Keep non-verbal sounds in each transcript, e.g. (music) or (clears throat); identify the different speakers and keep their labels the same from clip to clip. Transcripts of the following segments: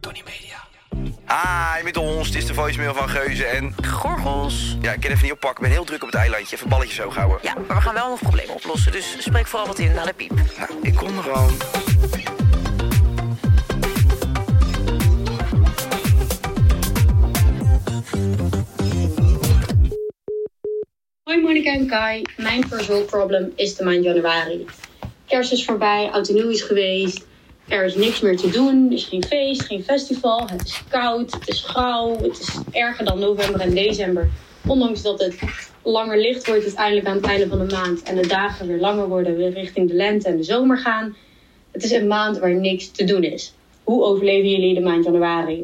Speaker 1: Tony Media. Hi, met ons. Het is Ah, de voicemail van Geuze en...
Speaker 2: Gorgels.
Speaker 1: Ja, ik kan even niet oppakken. Ik ben heel druk op het eilandje. Even balletjes hoog houden.
Speaker 2: Ja, maar we gaan wel nog problemen oplossen. Dus spreek vooral wat in naar de piep.
Speaker 1: Nou, ik kom er al.
Speaker 3: Hoi Monika en Kai, mijn personal problem is de maand januari. Kerst is voorbij, oud en nieuw is geweest. Er is niks meer te doen, er is geen feest, geen festival. Het is koud, het is grauw, het is erger dan november en december. Ondanks dat het langer licht wordt uiteindelijk aan het einde van de maand... en de dagen weer langer worden, weer richting de lente en de zomer gaan... het is een maand waar niks te doen is. Hoe overleven jullie de maand januari?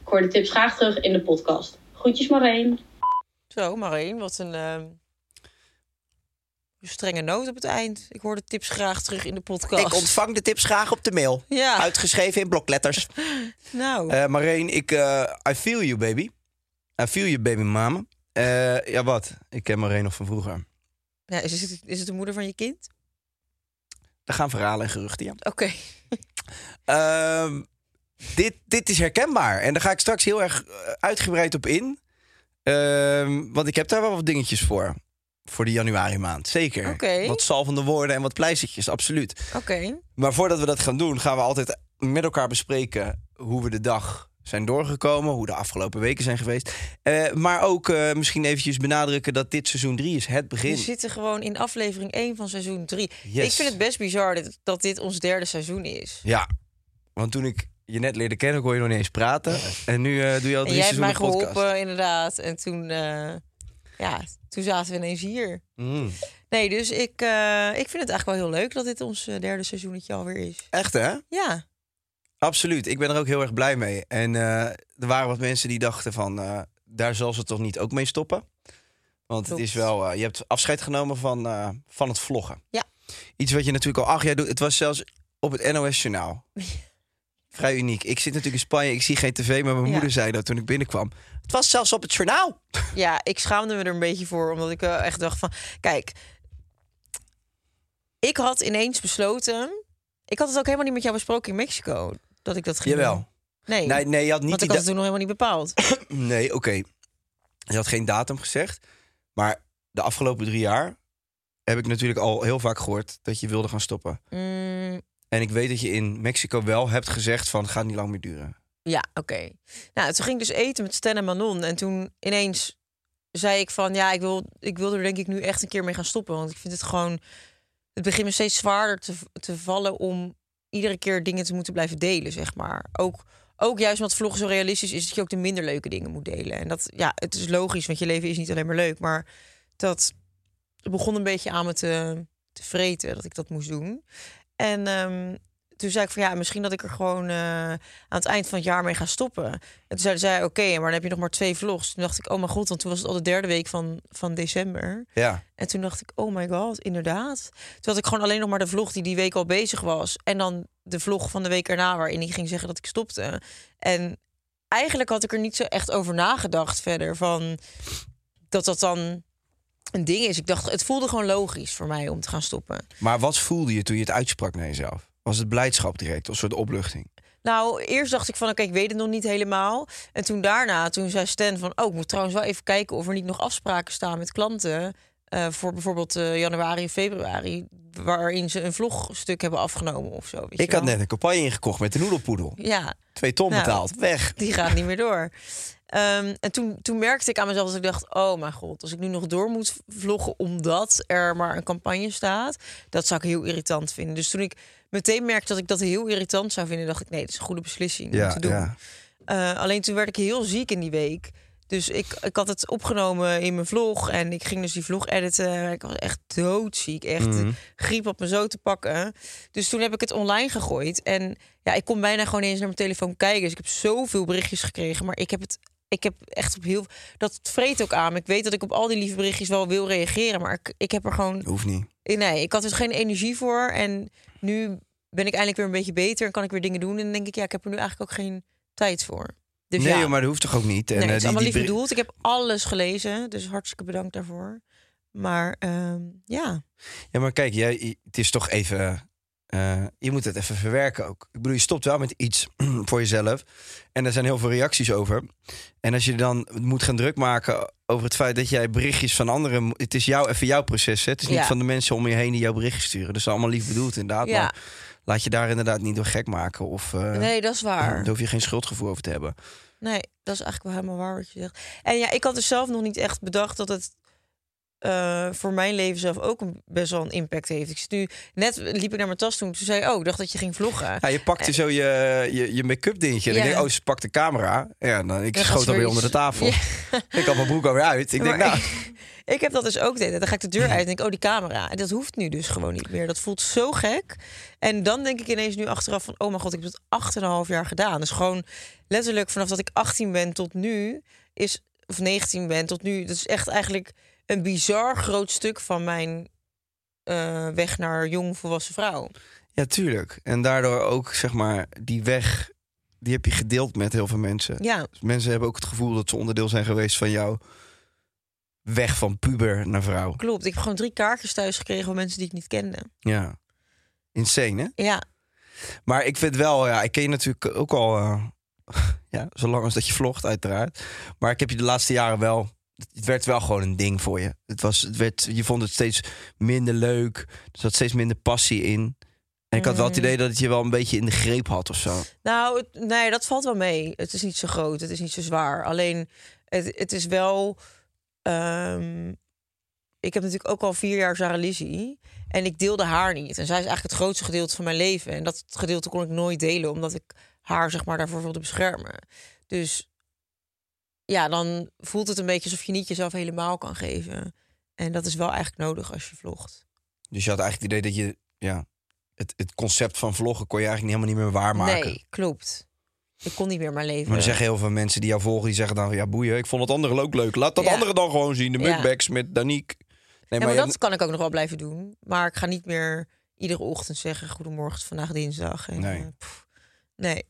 Speaker 3: Ik hoor de tips graag terug in de podcast. Groetjes Marijn.
Speaker 2: Zo, Marijn, wat een ehm, strenge noot op het eind. Ik hoor de tips graag terug in de podcast.
Speaker 4: Ik ontvang de tips graag op de mail.
Speaker 2: Ja.
Speaker 4: Uitgeschreven in blokletters.
Speaker 2: Nou,
Speaker 4: Eh,
Speaker 1: Eh Marijn, ik... eh, I feel you, baby. I feel you, baby mama. Eh, ja, wat? Ik ken Marijn nog van vroeger.
Speaker 2: ja, is, het, is het de moeder van je kind?
Speaker 1: Daar gaan verhalen en geruchten, ja.
Speaker 2: Oké.
Speaker 1: Ehm, dit, dit is herkenbaar. En daar ga ik straks heel erg eh, uitgebreid op in. Ehm, want ik heb daar wel wat dingetjes voor. Voor de januari maand, zeker.
Speaker 2: Oké.
Speaker 1: Wat zalvende woorden en wat pleistertjes, absoluut.
Speaker 2: Oké.
Speaker 1: Maar voordat we dat gaan doen, gaan we altijd met elkaar bespreken hoe we de dag zijn doorgekomen, hoe de afgelopen weken zijn geweest. Eh, maar ook eh, misschien eventjes benadrukken dat dit seizoen 3 is, het
Speaker 2: We
Speaker 1: begin.
Speaker 2: zitten gewoon in aflevering 1 van seizoen 3.
Speaker 1: Yes.
Speaker 2: Ik vind het best bizar dat, dat dit ons derde seizoen is.
Speaker 1: Ja, want toen ik je net leerde kennen, kon je nog niet eens praten. En nu eh, doe je al
Speaker 2: En
Speaker 1: drie
Speaker 2: jij hebt
Speaker 1: seizoenen
Speaker 2: mij geholpen,
Speaker 1: podcast.
Speaker 2: inderdaad. En toen, eh, ja, toen zaten we ineens hier.
Speaker 1: Mm.
Speaker 2: Nee, dus ik, eh, ik vind het eigenlijk wel heel leuk dat dit ons eh, derde seizoenetje alweer is.
Speaker 1: Echt hè?
Speaker 2: Ja,
Speaker 1: Absoluut. Ik ben er ook heel erg blij mee. En eh, er waren wat mensen die dachten van, eh, daar zal ze toch niet ook mee stoppen? Want
Speaker 2: Klopt.
Speaker 1: het is wel, eh, je hebt afscheid genomen van, eh, van het vloggen.
Speaker 2: Ja.
Speaker 1: Iets wat je natuurlijk al acht jaar doet. Het was zelfs op het
Speaker 2: (laughs)
Speaker 1: NOS-journaal. Vrij uniek. Ik zit natuurlijk in Spanje, ik zie geen tv, maar mijn
Speaker 2: Ja.
Speaker 1: moeder zei dat toen ik binnenkwam. Het was zelfs op het journaal.
Speaker 2: ja, ik schaamde me er een beetje voor, omdat ik eh, echt dacht van... Kijk, ik had ineens besloten... Ik had het ook helemaal niet met jou besproken in Mexico, dat ik dat ging doen.
Speaker 1: Jawel.
Speaker 2: Nee,
Speaker 1: Nee, nee, je had niet
Speaker 2: want
Speaker 1: die
Speaker 2: ik had
Speaker 1: da-
Speaker 2: het toen nog helemaal niet bepaald.
Speaker 1: Nee, oké. Je had geen datum gezegd. Maar de afgelopen drie jaar heb ik natuurlijk al heel vaak gehoord dat je wilde gaan stoppen.
Speaker 2: Mm,
Speaker 1: En ik weet dat je in Mexico wel hebt gezegd van, gaat niet lang meer duren.
Speaker 2: Ja, oké. Nou, toen ging ik dus eten met Stan en Manon. En toen ineens zei ik van... ja, ik wil, ik wil er denk ik nu echt een keer mee gaan stoppen. Want ik vind het gewoon... het begint me steeds zwaarder te, te vallen... om iedere keer dingen te moeten blijven delen, zeg maar. Ook, ook juist omdat vloggen zo realistisch is... dat je ook de minder leuke dingen moet delen. En dat, ja, het is logisch, want je leven is niet alleen maar leuk. Maar dat begon een beetje aan me te, te vreten... dat ik dat moest doen. En ehm, toen zei ik van ja, misschien dat ik er gewoon eh, aan het eind van het jaar mee ga stoppen. En toen zeiden zij, oké, maar dan heb je nog maar twee vlogs. Toen dacht ik, oh mijn god, want toen was het al de derde week van, van december.
Speaker 1: Ja.
Speaker 2: En toen dacht ik, oh my god, inderdaad. Toen had ik gewoon alleen nog maar de vlog die die week al bezig was. En dan de vlog van de week erna waarin ik ging zeggen dat ik stopte. En eigenlijk had ik er niet zo echt over nagedacht verder van dat dat dan een ding is. Ik dacht, het voelde gewoon logisch voor mij om te gaan stoppen.
Speaker 1: Maar wat voelde je toen je het uitsprak naar jezelf? Was het blijdschap direct of een soort opluchting?
Speaker 2: Nou, eerst dacht ik van, oké, ik weet het nog niet helemaal. En toen daarna, toen zei Stan van, oh, ik moet trouwens wel even kijken of er niet nog afspraken staan met klanten eh, voor bijvoorbeeld eh, januari en februari, waarin ze een vlogstuk hebben afgenomen of zo. Weet
Speaker 1: Ik
Speaker 2: je
Speaker 1: had
Speaker 2: wel.
Speaker 1: net een campagne ingekocht met de noedelpoedel.
Speaker 2: Ja,
Speaker 1: Twee ton
Speaker 2: Nou.
Speaker 1: betaald. Weg.
Speaker 2: die gaat niet meer door. Ehm, en toen, toen merkte ik aan mezelf dat ik dacht: oh mijn god, als ik nu nog door moet vloggen omdat er maar een campagne staat, dat zou ik heel irritant vinden. Dus toen ik meteen merkte dat ik dat heel irritant zou vinden, dacht ik: nee, dat is een goede beslissing om te doen. Eh, alleen toen werd ik heel ziek in die week. Dus ik, ik had het opgenomen in mijn vlog. En ik ging dus die vlog editen. Ik was echt doodziek. Echt eh, griep op me zo te pakken. Dus toen heb ik het online gegooid. En ja, ik kon bijna gewoon niet eens naar mijn telefoon kijken. Dus ik heb zoveel berichtjes gekregen. Maar ik heb het. Ik heb echt op heel. Dat vreet ook aan. me. Ik weet dat ik op al die lieve berichtjes wel wil reageren. Maar ik, ik heb er gewoon.
Speaker 1: Hoeft niet.
Speaker 2: Nee, ik had er geen energie voor. En nu ben ik eindelijk weer een beetje beter en kan ik weer dingen doen. En dan denk ik, ja, ik heb er nu eigenlijk ook geen tijd voor. Dus
Speaker 1: nee,
Speaker 2: ja,
Speaker 1: joh, maar dat hoeft toch ook niet?
Speaker 2: nee,
Speaker 1: eh,
Speaker 2: het is allemaal lief
Speaker 1: beri-
Speaker 2: bedoeld. Ik heb alles gelezen, dus hartstikke bedankt daarvoor. Maar ehm, ja,
Speaker 1: Ja, maar kijk, jij, je- het is toch even. eh, je moet het even verwerken ook. Ik bedoel, je stopt wel met iets (clears throat) voor jezelf. En er zijn heel veel reacties over. En als je dan moet gaan druk maken over het feit dat jij berichtjes van anderen. mo- Het is jou, even jouw proces. Hè? Het is niet
Speaker 2: Ja.
Speaker 1: van de mensen om je heen die jouw berichtjes sturen. Dat is allemaal lief bedoeld, inderdaad.
Speaker 2: Ja.
Speaker 1: Maar laat je daar inderdaad niet door gek maken. Of eh,
Speaker 2: nee, dat is waar.
Speaker 1: (clears throat) daar hoef je geen schuldgevoel over te hebben.
Speaker 2: Nee, dat is eigenlijk wel helemaal waar wat je zegt. En ja, ik had dus zelf nog niet echt bedacht dat het eh, voor mijn leven zelf ook een, best wel een impact heeft. Ik zit nu, net liep ik naar mijn tas toen, toen zei ik, oh, ik dacht dat je ging vloggen.
Speaker 1: Ja, je pakte zo je, je, je make-up dingetje. En
Speaker 2: Eh, Ja.
Speaker 1: ik denk, oh, ze pakt de camera. Ja, dan, ik
Speaker 2: Dan gaat
Speaker 1: schoot
Speaker 2: ze
Speaker 1: alweer
Speaker 2: weer iets-
Speaker 1: onder de tafel. Ik had mijn broek alweer uit. Ik denk,
Speaker 2: (laughs) Maar
Speaker 1: nou,
Speaker 2: ik, ik heb dat dus ook deed. Dan ga ik de deur uit en denk, oh, die camera. En dat hoeft nu dus gewoon niet meer. Dat voelt zo gek. En dan denk ik ineens nu achteraf van, oh mijn god, ik heb dat acht en een half jaar gedaan. Dus gewoon letterlijk vanaf dat ik 18 ben tot nu, is, of 19 ben tot nu, dat is echt eigenlijk een bizar groot stuk van mijn eh, weg naar jong volwassen vrouw.
Speaker 1: Ja, tuurlijk. En daardoor ook, zeg maar, die weg, die heb je gedeeld met heel veel mensen.
Speaker 2: Ja,
Speaker 1: Dus mensen hebben ook het gevoel dat ze onderdeel zijn geweest van jouw weg van puber naar vrouw.
Speaker 2: klopt. Ik heb gewoon drie kaartjes thuis gekregen van mensen die ik niet kende.
Speaker 1: Ja. Insane, hè?
Speaker 2: Ja,
Speaker 1: Maar ik vind wel, ja, ik ken je natuurlijk ook al, eh, (laughs) ja, zolang als dat je vlogt, uiteraard. Maar ik heb je de laatste jaren wel, het werd wel gewoon een ding voor je. Het was, het werd, je vond het steeds minder leuk, er zat steeds minder passie in. En ik had wel
Speaker 2: Mhm.
Speaker 1: het idee dat het je wel een beetje in de greep had of zo.
Speaker 2: Nou, het- nee, dat valt wel mee. Het is niet zo groot, het is niet zo zwaar. Alleen, het, het is wel... ehm, ik heb natuurlijk ook al vier jaar Sarah Lizzie. En ik deelde haar niet. En zij is eigenlijk het grootste gedeelte van mijn leven. En dat gedeelte kon ik nooit delen, omdat ik haar zeg maar, daarvoor wilde beschermen. Dus ja, dan voelt het een beetje alsof je niet jezelf helemaal kan geven. En dat is wel eigenlijk nodig als je vlogt.
Speaker 1: Dus je had eigenlijk het idee dat je ja, het, het concept van vloggen kon je eigenlijk helemaal niet meer waarmaken.
Speaker 2: Nee, klopt. Ik kon niet meer mijn leven.
Speaker 1: Maar er zeggen heel veel mensen die jou volgen, die zeggen dan... ja, boeien, ik vond het andere ook leuk. Laat dat
Speaker 2: Ja.
Speaker 1: andere dan gewoon zien. De
Speaker 2: Ja.
Speaker 1: mukbacks met Danique. Nee,
Speaker 2: Ja, maar
Speaker 1: je-
Speaker 2: dat kan ik ook nog wel blijven doen. Maar ik ga niet meer iedere ochtend zeggen: Goedemorgen, het is vandaag dinsdag. En,
Speaker 1: Nee.
Speaker 2: eh, pff, nee.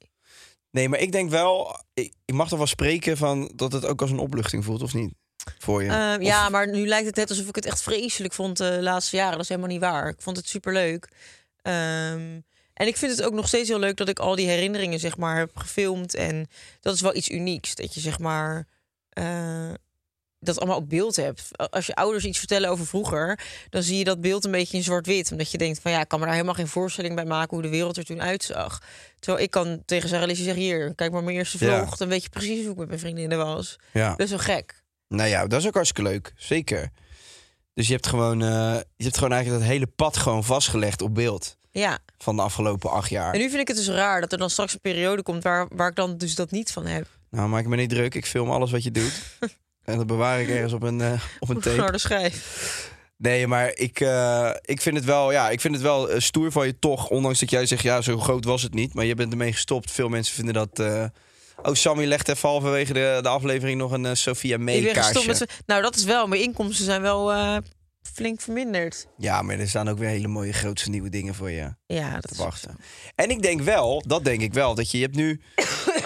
Speaker 1: nee, maar ik denk wel... Ik, ik mag toch wel spreken van dat het ook als een opluchting voelt, of niet? Voor je.
Speaker 2: Ja,
Speaker 1: Of-
Speaker 2: Ehm, ja, maar nu lijkt het net alsof ik het echt vreselijk vond eh, de laatste jaren. Dat is helemaal niet waar. Ik vond het superleuk. Ehm, en ik vind het ook nog steeds heel leuk dat ik al die herinneringen zeg maar heb gefilmd. En dat is wel iets unieks. Dat je zeg maar eh, dat allemaal op beeld hebt. Als je ouders iets vertellen over vroeger, dan zie je dat beeld een beetje in zwart-wit. Omdat je denkt van ja, ik kan me daar helemaal geen voorstelling bij maken hoe de wereld er toen uitzag. Terwijl ik kan tegen Sarah Lizzie zeggen, hier, kijk maar mijn eerste vlog.
Speaker 1: Ja.
Speaker 2: Dan weet je precies hoe ik met mijn vriendinnen was.
Speaker 1: ja.
Speaker 2: Dat is wel gek.
Speaker 1: Nou ja, dat is ook hartstikke leuk. Zeker. Dus je hebt gewoon, eh, je hebt gewoon eigenlijk dat hele pad gewoon vastgelegd op beeld...
Speaker 2: Ja.
Speaker 1: van de afgelopen acht jaar.
Speaker 2: En nu vind ik het dus raar dat er dan straks een periode komt waar, waar ik dan dus dat niet van heb.
Speaker 1: Nou, maak me niet druk. Ik film alles wat je
Speaker 2: (laughs)
Speaker 1: doet. en dat bewaar ik ergens op een, eh, op een tape.
Speaker 2: Naar de schijf.
Speaker 1: Nee, maar ik, eh, ik vind het wel, ja, ik vind het wel eh, stoer van je toch. Ondanks dat jij zegt, ja, zo groot was het niet. Maar je bent ermee gestopt. Veel mensen vinden dat... eh, Oh, Sammy legt even halverwege de, de aflevering nog een eh, Sophia
Speaker 2: Ik
Speaker 1: May
Speaker 2: ben gestopt
Speaker 1: kaarsje.
Speaker 2: met... Nou, dat is wel. Mijn inkomsten zijn wel eh, flink verminderd.
Speaker 1: Ja, maar er staan ook weer hele mooie grootste nieuwe dingen voor je
Speaker 2: Ja, dat
Speaker 1: te
Speaker 2: is ook zo.
Speaker 1: wachten. En ik denk wel, dat denk ik wel, dat je, je hebt nu... Oké,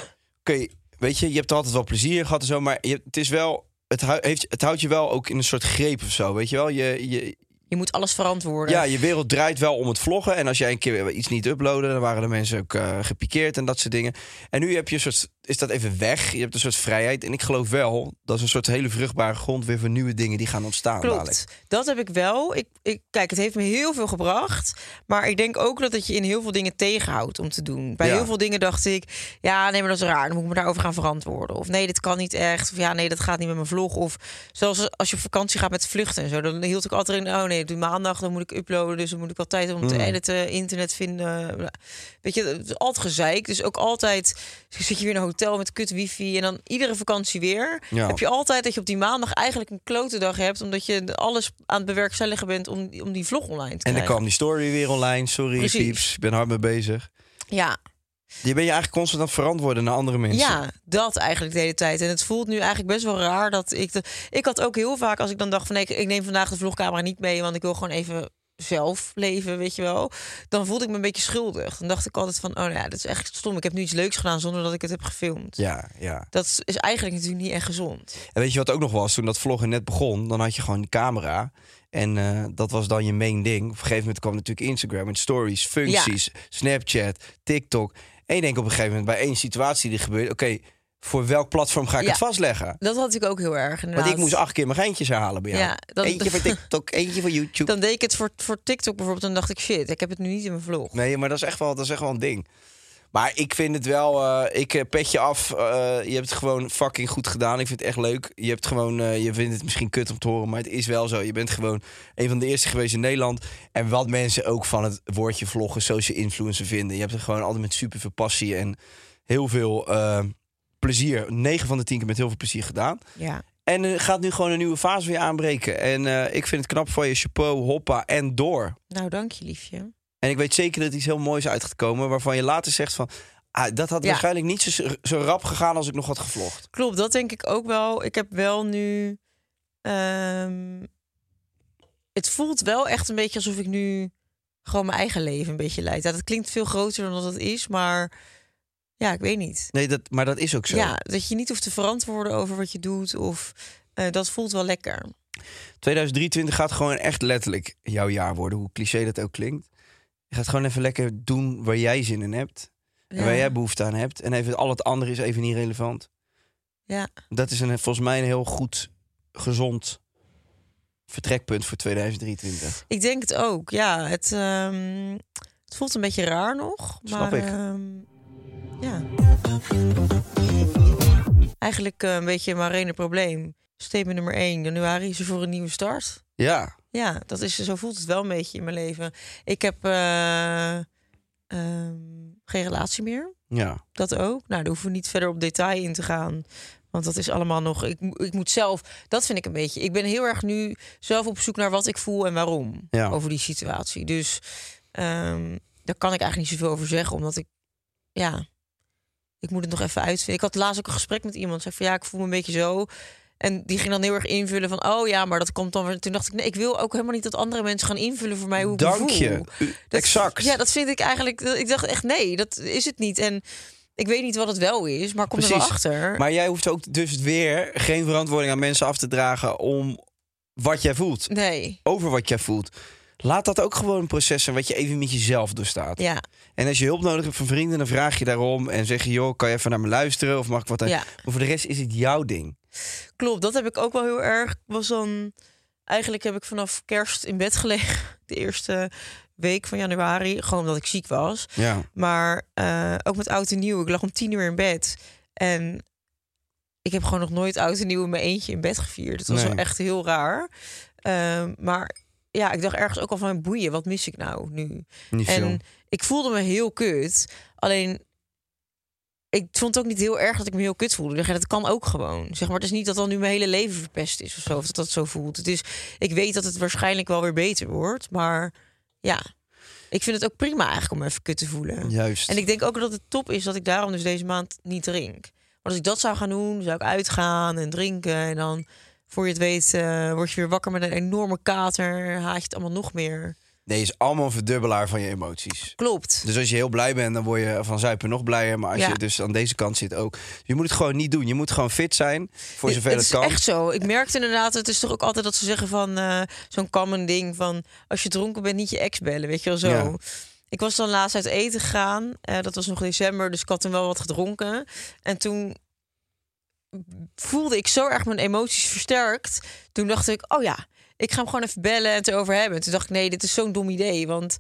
Speaker 1: weet je, je hebt er altijd wel plezier gehad en zo, maar je, het is wel... Het, hou- heeft, het houdt je wel ook in een soort greep of zo, weet je wel? Je, je,
Speaker 2: Je moet alles verantwoorden.
Speaker 1: Ja, je wereld draait wel om het vloggen. En als jij een keer iets niet uploaden, dan waren de mensen ook eh, gepikeerd en dat soort dingen. En nu heb je een soort is dat even weg. Je hebt een soort vrijheid. En ik geloof wel dat is een soort hele vruchtbare grond weer voor nieuwe dingen die gaan ontstaan. dadelijk.
Speaker 2: Klopt. Dat heb ik wel. Ik, ik, kijk, het heeft me heel veel gebracht. Maar ik denk ook dat het je in heel veel dingen tegenhoudt om te doen. Bij
Speaker 1: Ja.
Speaker 2: heel veel dingen dacht ik, ja, nee, maar dat is raar. Dan moet ik me daarover gaan verantwoorden. Of nee, dit kan niet echt. Of ja, nee, dat gaat niet met mijn vlog. Of zelfs als je op vakantie gaat met vluchten en zo. Dan hield ik altijd in, oh nee, doe maandag, dan moet ik uploaden. Dus dan moet ik wel tijd om te
Speaker 1: Hmm.
Speaker 2: editen, internet vinden. Weet je, het is altijd gezeik. Dus ook altijd zit je weer in een hotel met kut wifi. En dan iedere vakantie weer.
Speaker 1: Ja.
Speaker 2: Heb je altijd dat je op die maandag eigenlijk een klote dag hebt. Omdat je alles aan het bewerkstelligen bent om, om die vlog online te
Speaker 1: En dan
Speaker 2: krijgen.
Speaker 1: kwam die story weer online. Sorry,
Speaker 2: Precies.
Speaker 1: pieps. Ik ben hard mee bezig.
Speaker 2: Ja,
Speaker 1: Je ben je eigenlijk constant aan het verantwoorden naar andere mensen.
Speaker 2: ja, dat eigenlijk de hele tijd. En het voelt nu eigenlijk best wel raar dat ik... De, ik had ook heel vaak als ik dan dacht van... Nee, ik, ik neem vandaag de vlogcamera niet mee, want ik wil gewoon even zelf leven, weet je wel. Dan voelde ik me een beetje schuldig. Dan dacht ik altijd van, oh nou ja, dat is echt stom. Ik heb nu iets leuks gedaan zonder dat ik het heb gefilmd.
Speaker 1: Ja, ja.
Speaker 2: Dat is eigenlijk natuurlijk niet echt gezond.
Speaker 1: En weet je wat ook nog was? Toen dat vloggen net begon, dan had je gewoon die camera. En eh, dat was dan je main ding. Op een gegeven moment kwam natuurlijk Instagram en stories, functies, Snapchat, TikTok. En je denkt op een gegeven moment bij één situatie die gebeurt... oké, voor welk platform ga ik
Speaker 2: Ja.
Speaker 1: het vastleggen?
Speaker 2: Dat had ik ook heel erg.
Speaker 1: Want
Speaker 2: inderdaad.
Speaker 1: ik moest acht keer mijn geintjes herhalen bij jou.
Speaker 2: Ja, dan-
Speaker 1: eentje
Speaker 2: (laughs)
Speaker 1: voor TikTok, eentje voor YouTube.
Speaker 2: Dan deed ik het voor, voor TikTok bijvoorbeeld. Dan dacht ik, shit, ik heb het nu niet in mijn vlog.
Speaker 1: Nee, maar dat is echt wel, dat is echt wel een ding. Maar ik vind het wel, eh, ik eh, pet je af. eh, je hebt het gewoon fucking goed gedaan. Ik vind het echt leuk. Je hebt gewoon, eh, je vindt het misschien kut om te horen, maar het is wel zo. Je bent gewoon een van de eerste geweest in Nederland. En wat mensen ook van het woordje vloggen, social influencer vinden. Je hebt er gewoon altijd met super veel passie en heel veel eh, plezier. 9 van de 10 keer met heel veel plezier gedaan.
Speaker 2: Ja.
Speaker 1: En er gaat nu gewoon een nieuwe fase weer aanbreken. En eh, ik vind het knap van je chapeau, hoppa en door.
Speaker 2: Nou, dank je, liefje.
Speaker 1: En ik weet zeker dat iets heel moois uit gaat komen... waarvan je later zegt van... Ah, dat had
Speaker 2: Ja.
Speaker 1: waarschijnlijk niet zo, zo rap gegaan als ik nog had gevlogd.
Speaker 2: Klopt, dat denk ik ook wel. Ik heb wel nu... ehm, het voelt wel echt een beetje alsof ik nu gewoon mijn eigen leven een beetje leid. Ja, dat klinkt veel groter dan dat het is, maar ja, ik weet niet.
Speaker 1: Nee, dat, maar dat is ook zo.
Speaker 2: Ja, dat je niet hoeft te verantwoorden over wat je doet of eh, dat voelt wel lekker.
Speaker 1: 2023 gaat gewoon echt letterlijk jouw jaar worden. Hoe cliché dat ook klinkt. Je gaat gewoon even lekker doen waar jij zin in hebt. En
Speaker 2: Ja.
Speaker 1: waar jij behoefte aan hebt. En even al het andere is even niet relevant.
Speaker 2: Ja.
Speaker 1: Dat is een, volgens mij een heel goed, gezond vertrekpunt voor 2023.
Speaker 2: Ik denk het ook, ja. Het, ehm, het voelt een beetje raar nog.
Speaker 1: Snap
Speaker 2: maar,
Speaker 1: ik.
Speaker 2: ehm, ja. Eigenlijk eh, een beetje Marene probleem. Statement nummer 1. Januari is er voor een nieuwe start.
Speaker 1: Ja,
Speaker 2: Ja, dat is, zo voelt het wel een beetje in mijn leven. Ik heb eh, ehm, geen relatie meer
Speaker 1: ja.
Speaker 2: dat ook. Nou, daar hoeven we niet verder op detail in te gaan. Want dat is allemaal nog. Ik, mo- ik moet zelf. Dat vind ik een beetje. Ik ben heel erg nu zelf op zoek naar wat ik voel en waarom.
Speaker 1: Ja.
Speaker 2: Over die situatie. Dus ehm, daar kan ik eigenlijk niet zoveel over zeggen. Omdat ik. Ja. Ik moet het nog even uitvinden. Ik had laatst ook een gesprek met iemand. Zei van ja, ik voel me een beetje zo. En die ging dan heel erg invullen van. Oh ja, maar dat komt dan. weer- Toen dacht ik. Nee, ik wil ook helemaal niet dat andere mensen gaan invullen voor mij hoe ik me
Speaker 1: Dank
Speaker 2: voel.
Speaker 1: je. U-
Speaker 2: Dat-
Speaker 1: exact.
Speaker 2: Ja, dat vind ik eigenlijk. Ik dacht echt, nee, dat is het niet. En ik weet niet wat het wel is, maar kom er wel achter.
Speaker 1: Maar jij hoeft ook dus weer geen verantwoording aan mensen af te dragen om wat jij voelt,
Speaker 2: Nee.
Speaker 1: over wat jij voelt. Laat dat ook gewoon een proces zijn wat je even met jezelf doorstaat.
Speaker 2: Ja,
Speaker 1: En als je hulp nodig hebt van vrienden, dan vraag je daarom en zeg je: joh, kan je even naar me luisteren of mag ik wat? aan-
Speaker 2: Ja.
Speaker 1: Maar voor de rest is het jouw ding.
Speaker 2: klopt. Dat heb ik ook wel heel erg. Ik Was dan eigenlijk heb ik vanaf kerst in bed gelegen. (laughs) De eerste week van januari, gewoon omdat ik ziek was.
Speaker 1: Ja.
Speaker 2: Maar eh, ook met oud en nieuw. Ik lag om tien uur in bed. En ik heb gewoon nog nooit oud en nieuw in mijn eentje in bed gevierd. Het was
Speaker 1: Nee.
Speaker 2: wel echt heel raar. Ehm, maar ja, ik dacht ergens ook al van boeien, wat mis ik nou nu?
Speaker 1: Niet veel.
Speaker 2: En ik voelde me heel kut. Alleen, ik vond het ook niet heel erg dat ik me heel kut voelde. Ik dacht, Dat kan ook gewoon. Zeg maar, het is niet dat dan nu mijn hele leven verpest is of zo. Of dat dat zo voelt. Het is, ik weet dat het waarschijnlijk wel weer beter wordt. Maar ja, ik vind het ook prima eigenlijk om even kut te voelen.
Speaker 1: Juist.
Speaker 2: En ik denk ook dat het top is dat ik daarom dus deze maand niet drink. Want als ik dat zou gaan doen, zou ik uitgaan en drinken. En dan, voor je het weet, eh, word je weer wakker met een enorme kater. Haat je het allemaal nog meer.
Speaker 1: Nee, is allemaal een verdubbelaar van je emoties.
Speaker 2: Klopt.
Speaker 1: Dus als je heel blij bent, dan word je van zuipen nog blijer. Maar als
Speaker 2: Ja.
Speaker 1: je dus aan deze kant zit ook. Je moet het gewoon niet doen. Je moet gewoon fit zijn, voor
Speaker 2: Ja,
Speaker 1: zover
Speaker 2: het
Speaker 1: het,
Speaker 2: is
Speaker 1: kan.
Speaker 2: echt zo. Ik merkte inderdaad, het is toch ook altijd dat ze zeggen van eh, zo'n common ding van als je dronken bent niet je ex bellen, weet je wel zo.
Speaker 1: Ja.
Speaker 2: Ik was dan laatst uit eten gegaan. Eh, dat was nog december, dus ik had toen wel wat gedronken. En toen voelde ik zo erg mijn emoties versterkt. Toen dacht ik, oh ja, ik ga hem gewoon even bellen en het erover hebben. Toen dacht ik, nee, dit is zo'n dom idee. Want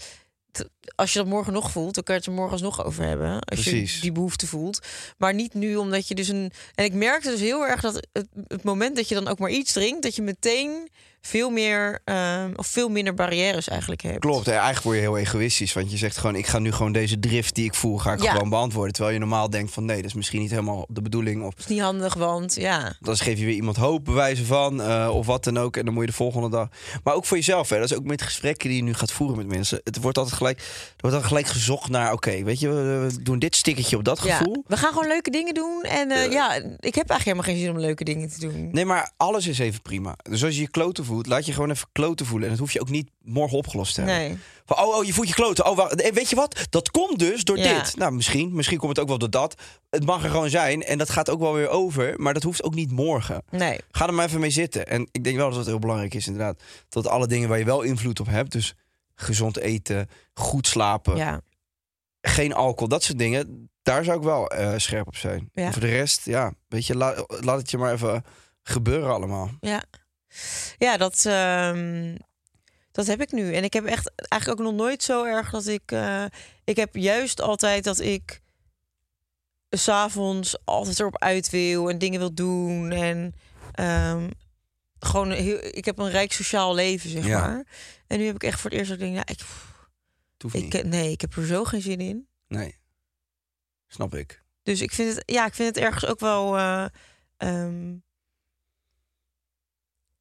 Speaker 2: t- als je dat morgen nog voelt, dan kan je het er morgen alsnog over hebben. Als
Speaker 1: Precies.
Speaker 2: je die behoefte voelt. Maar niet nu, omdat je dus een... En ik merkte dus heel erg dat het, het moment dat je dan ook maar iets drinkt... dat je meteen veel meer ehm, of veel minder barrières eigenlijk hebt.
Speaker 1: Klopt, hè? eigenlijk word je heel egoïstisch. Want je zegt gewoon, ik ga nu gewoon deze drift die ik voel, ga ik
Speaker 2: Ja.
Speaker 1: gewoon beantwoorden. Terwijl je normaal denkt van, nee, dat is misschien niet helemaal de bedoeling. Of
Speaker 2: is niet handig, want ja.
Speaker 1: dan geef je weer iemand hoop, bewijzen van, eh, of wat dan ook. En dan moet je de volgende dag... Maar ook voor jezelf, hè? dat is ook met gesprekken die je nu gaat voeren met mensen. Het wordt altijd gelijk, er wordt dan gelijk gezocht naar, oké, weet je, we, we doen dit stikkertje op dat
Speaker 2: ja.
Speaker 1: gevoel.
Speaker 2: We gaan gewoon leuke dingen doen. En eh, ja, ik heb eigenlijk helemaal geen zin om leuke dingen te doen.
Speaker 1: Nee, maar alles is even prima. Dus als je je kloten voelt, laat je gewoon even kloten voelen. En dat hoef je ook niet morgen opgelost te hebben.
Speaker 2: Nee.
Speaker 1: Van, oh, oh, je voelt je kloten. Oh, wacht. Eh, Weet je wat? Dat komt dus door
Speaker 2: Ja.
Speaker 1: dit. Nou, misschien. Misschien komt het ook wel door dat. Het mag er gewoon zijn. En dat gaat ook wel weer over. Maar dat hoeft ook niet morgen.
Speaker 2: Nee.
Speaker 1: Ga er maar even mee zitten. En ik denk wel dat het heel belangrijk is, inderdaad. Dat alle dingen waar je wel invloed op hebt. Dus gezond eten, goed slapen,
Speaker 2: Ja.
Speaker 1: geen alcohol, dat soort dingen. Daar zou ik wel eh, scherp op zijn.
Speaker 2: Ja.
Speaker 1: En Voor de rest, ja, weet je, la- laat het je maar even gebeuren allemaal.
Speaker 2: Ja, ja dat, ehm, dat heb ik nu. En ik heb echt eigenlijk ook nog nooit zo erg dat ik. eh, ik heb juist altijd dat ik s'avonds altijd erop uit wil en dingen wil doen. En ehm, gewoon heel, ik heb een rijk sociaal leven, zeg
Speaker 1: Ja.
Speaker 2: maar. En nu heb ik echt voor het eerst dat ik denk, nou, ik,
Speaker 1: Het hoeft niet.
Speaker 2: ik, nee, ik heb er zo geen zin in.
Speaker 1: Nee. Snap ik.
Speaker 2: Dus ik vind het, ja, ik vind het ergens ook wel. eh, ehm,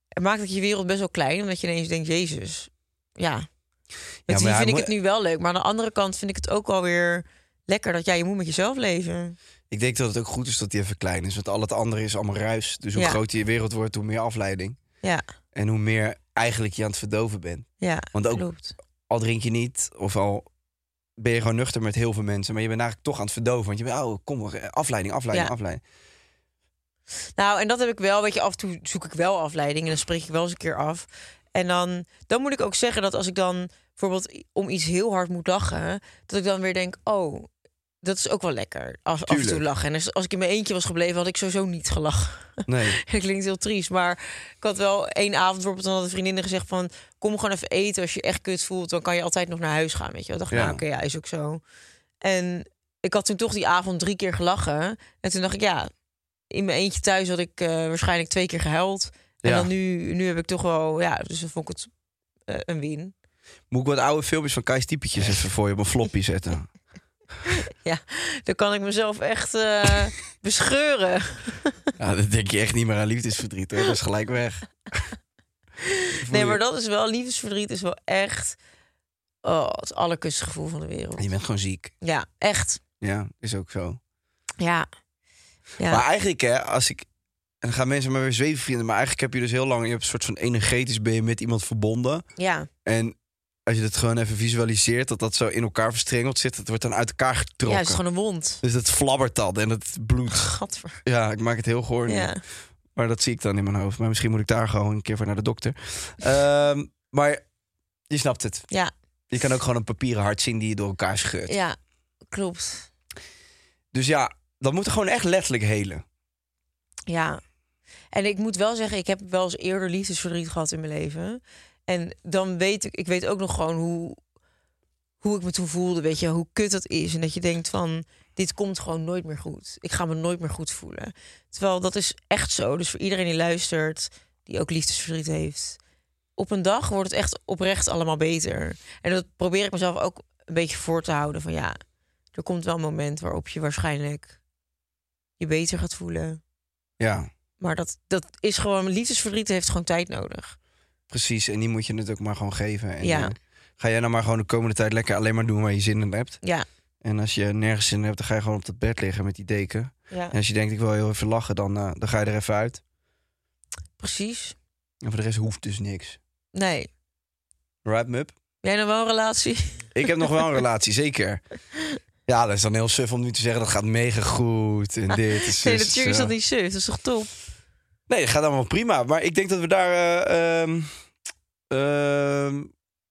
Speaker 2: het maakt dat je wereld best wel klein, omdat je ineens denkt, Jezus, ja.
Speaker 1: maar
Speaker 2: Met die
Speaker 1: hij
Speaker 2: vind ik
Speaker 1: moet-
Speaker 2: het nu wel leuk, maar aan de andere kant vind ik het ook alweer lekker dat jij je moet met jezelf leven.
Speaker 1: Ik denk dat het ook goed is dat die even klein is. Want al het andere is allemaal ruis. Dus hoe
Speaker 2: Ja.
Speaker 1: groter je wereld wordt, hoe meer afleiding.
Speaker 2: Ja,
Speaker 1: En hoe meer eigenlijk je aan het verdoven bent.
Speaker 2: ja.
Speaker 1: Want ook-
Speaker 2: klopt.
Speaker 1: Al drink je niet, of al ben je gewoon nuchter met heel veel mensen. Maar je bent eigenlijk toch aan het verdoven. Want je bent, oh, kom maar, eh, afleiding, afleiding,
Speaker 2: Ja.
Speaker 1: afleiding.
Speaker 2: Nou, en dat heb ik wel. Weet je, af en toe zoek ik wel afleiding en dan spreek ik wel eens een keer af. En dan, dan moet ik ook zeggen dat als ik dan bijvoorbeeld i- om iets heel hard moet lachen, dat ik dan weer denk: oh, dat is ook wel lekker. Af, af en toe
Speaker 1: Tuurlijk.
Speaker 2: lachen. En als, als ik in mijn eentje was gebleven, had ik sowieso niet gelachen. (laughs)
Speaker 1: Nee,
Speaker 2: Dat klinkt heel triest, maar ik had wel één avond bijvoorbeeld, dan had een vriendinnen gezegd van... kom gewoon even eten, als je je echt kut voelt, dan kan je altijd nog naar huis gaan, weet je wel. dacht ik,
Speaker 1: Ja.
Speaker 2: nou oké, ja, is ook zo. En ik had toen toch die avond drie keer gelachen. En toen dacht ik, ja, in mijn eentje thuis had ik eh, waarschijnlijk twee keer gehuild. En
Speaker 1: Ja.
Speaker 2: dan nu, nu heb ik toch wel, ja, dus dan vond ik het eh, een win.
Speaker 1: moet ik wat oude filmpjes van Kai Stiepetjes even voor je op een floppy zetten.
Speaker 2: Dan kan ik mezelf
Speaker 1: (laughs)
Speaker 2: echt eh, bescheuren.
Speaker 1: Ja, dan denk je echt niet meer aan liefdesverdriet. Hoor. Dat is gelijk weg.
Speaker 2: Nee, maar dat is wel, liefdesverdriet is wel echt oh, het allerkutste gevoel van de wereld.
Speaker 1: Je bent gewoon ziek.
Speaker 2: Ja, echt.
Speaker 1: Ja, is ook zo.
Speaker 2: Ja. Ja.
Speaker 1: Maar eigenlijk, hè, als ik. En dan gaan mensen maar weer zweven, vrienden. Maar eigenlijk heb je dus heel lang. Je hebt een soort van energetisch ben je met iemand verbonden.
Speaker 2: ja.
Speaker 1: En als je dat gewoon even visualiseert, dat dat zo in elkaar verstrengeld zit. Het wordt dan uit elkaar
Speaker 2: ja,
Speaker 1: getrokken.
Speaker 2: het is gewoon een wond.
Speaker 1: Dus dat flabbert dan en het bloed.
Speaker 2: (laughs) Gadver.
Speaker 1: Ja, ik maak het heel goor nu.
Speaker 2: Ja.
Speaker 1: Maar dat zie ik dan in mijn hoofd. Maar misschien moet ik daar gewoon een keer voor naar de dokter. Ehm, maar je snapt het.
Speaker 2: ja,
Speaker 1: Je kan ook gewoon een papieren hart zien die je door elkaar scheurt.
Speaker 2: ja, klopt.
Speaker 1: Dus ja, dat moet gewoon echt letterlijk helen.
Speaker 2: Ja. En ik moet wel zeggen, ik heb wel eens eerder liefdesverdriet gehad in mijn leven. En dan weet ik, ik weet ook nog gewoon hoe, hoe ik me toen voelde, weet je, hoe kut dat is. En dat je denkt van, dit komt gewoon nooit meer goed. Ik ga me nooit meer goed voelen. Terwijl dat is echt zo. Dus voor iedereen die luistert, die ook liefdesverdriet heeft. Op een dag wordt het echt oprecht allemaal beter. En dat probeer ik mezelf ook een beetje voor te houden. Van ja, er komt wel een moment waarop je waarschijnlijk je beter gaat voelen.
Speaker 1: Ja,
Speaker 2: Maar dat, dat is gewoon, liefdesverdriet heeft gewoon tijd nodig.
Speaker 1: precies. En die moet je het ook maar gewoon geven. En,
Speaker 2: Ja.
Speaker 1: eh, ga jij nou maar gewoon de komende tijd lekker alleen maar doen waar je zin in hebt.
Speaker 2: Ja,
Speaker 1: En als je nergens zin in hebt, dan ga je gewoon op dat bed liggen met die deken.
Speaker 2: ja
Speaker 1: En als je denkt, ik wil heel even lachen, dan, eh, dan ga je er even uit.
Speaker 2: precies.
Speaker 1: En voor de rest hoeft dus niks.
Speaker 2: Nee.
Speaker 1: Right, Mup?
Speaker 2: Jij nog wel een relatie?
Speaker 1: Ik heb nog wel een relatie, (laughs) zeker. Ja, dat is dan heel suf om nu te zeggen, dat gaat mega goed. En dit is
Speaker 2: (laughs) Nee,
Speaker 1: zus,
Speaker 2: natuurlijk is dat
Speaker 1: eh.
Speaker 2: niet suf. Dat is toch top?
Speaker 1: Nee, dat gaat allemaal prima. Maar ik denk dat we daar... eh, ehm, ehm,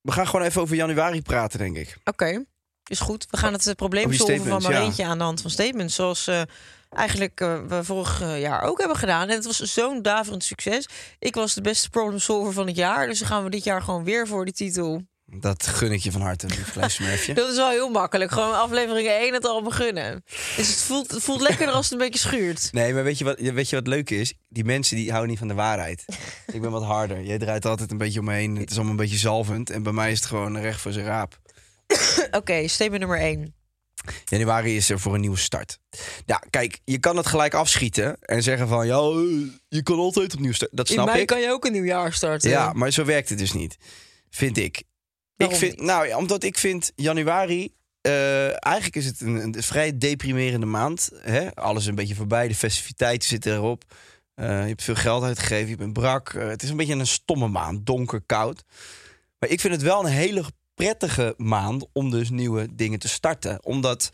Speaker 1: we gaan gewoon even over januari praten, denk ik.
Speaker 2: Oké. is goed. We gaan het eh, probleem
Speaker 1: Oh, die
Speaker 2: solven van maar
Speaker 1: statements, ja.
Speaker 2: eentje aan de hand van statements. Zoals eh, eigenlijk eh, we vorig eh, jaar ook hebben gedaan. En het was zo'n daverend succes. Ik was de beste problem solver van het jaar. Dus dan gaan we dit jaar gewoon weer voor die titel.
Speaker 1: Dat gun ik je van harte, lief klein smurfje.
Speaker 2: Dat is wel heel makkelijk. Gewoon aflevering 1 het al beginnen. Dus het voelt, het voelt lekkerder als het een beetje schuurt.
Speaker 1: Nee, maar weet je, wat, weet je wat leuk is? Die mensen die houden niet van de waarheid. Ik ben wat harder. Jij draait altijd een beetje omheen. Het is allemaal een beetje zalvend. En bij mij is het gewoon recht voor zijn raap.
Speaker 2: Oké, statement nummer 1.
Speaker 1: Januari is er voor een nieuwe start. Ja, kijk, je kan het gelijk afschieten en zeggen van... Ja, eh, je kan altijd opnieuw starten. Dat
Speaker 2: In
Speaker 1: snap
Speaker 2: mei
Speaker 1: ik.
Speaker 2: kan je ook een nieuw jaar starten.
Speaker 1: Ja, maar zo werkt het dus niet. Vind ik.
Speaker 2: eh, Waarom
Speaker 1: ik vind,
Speaker 2: niet?
Speaker 1: Nou ja, omdat ik vind januari. eh, eigenlijk is het een, een vrij deprimerende maand. Hè? Alles een beetje voorbij. De festiviteiten zitten erop. Eh, je hebt veel geld uitgegeven. Je bent brak. Eh, het is een beetje een stomme maand. Donker, koud. Maar ik vind het wel een hele prettige maand om dus nieuwe dingen te starten. Omdat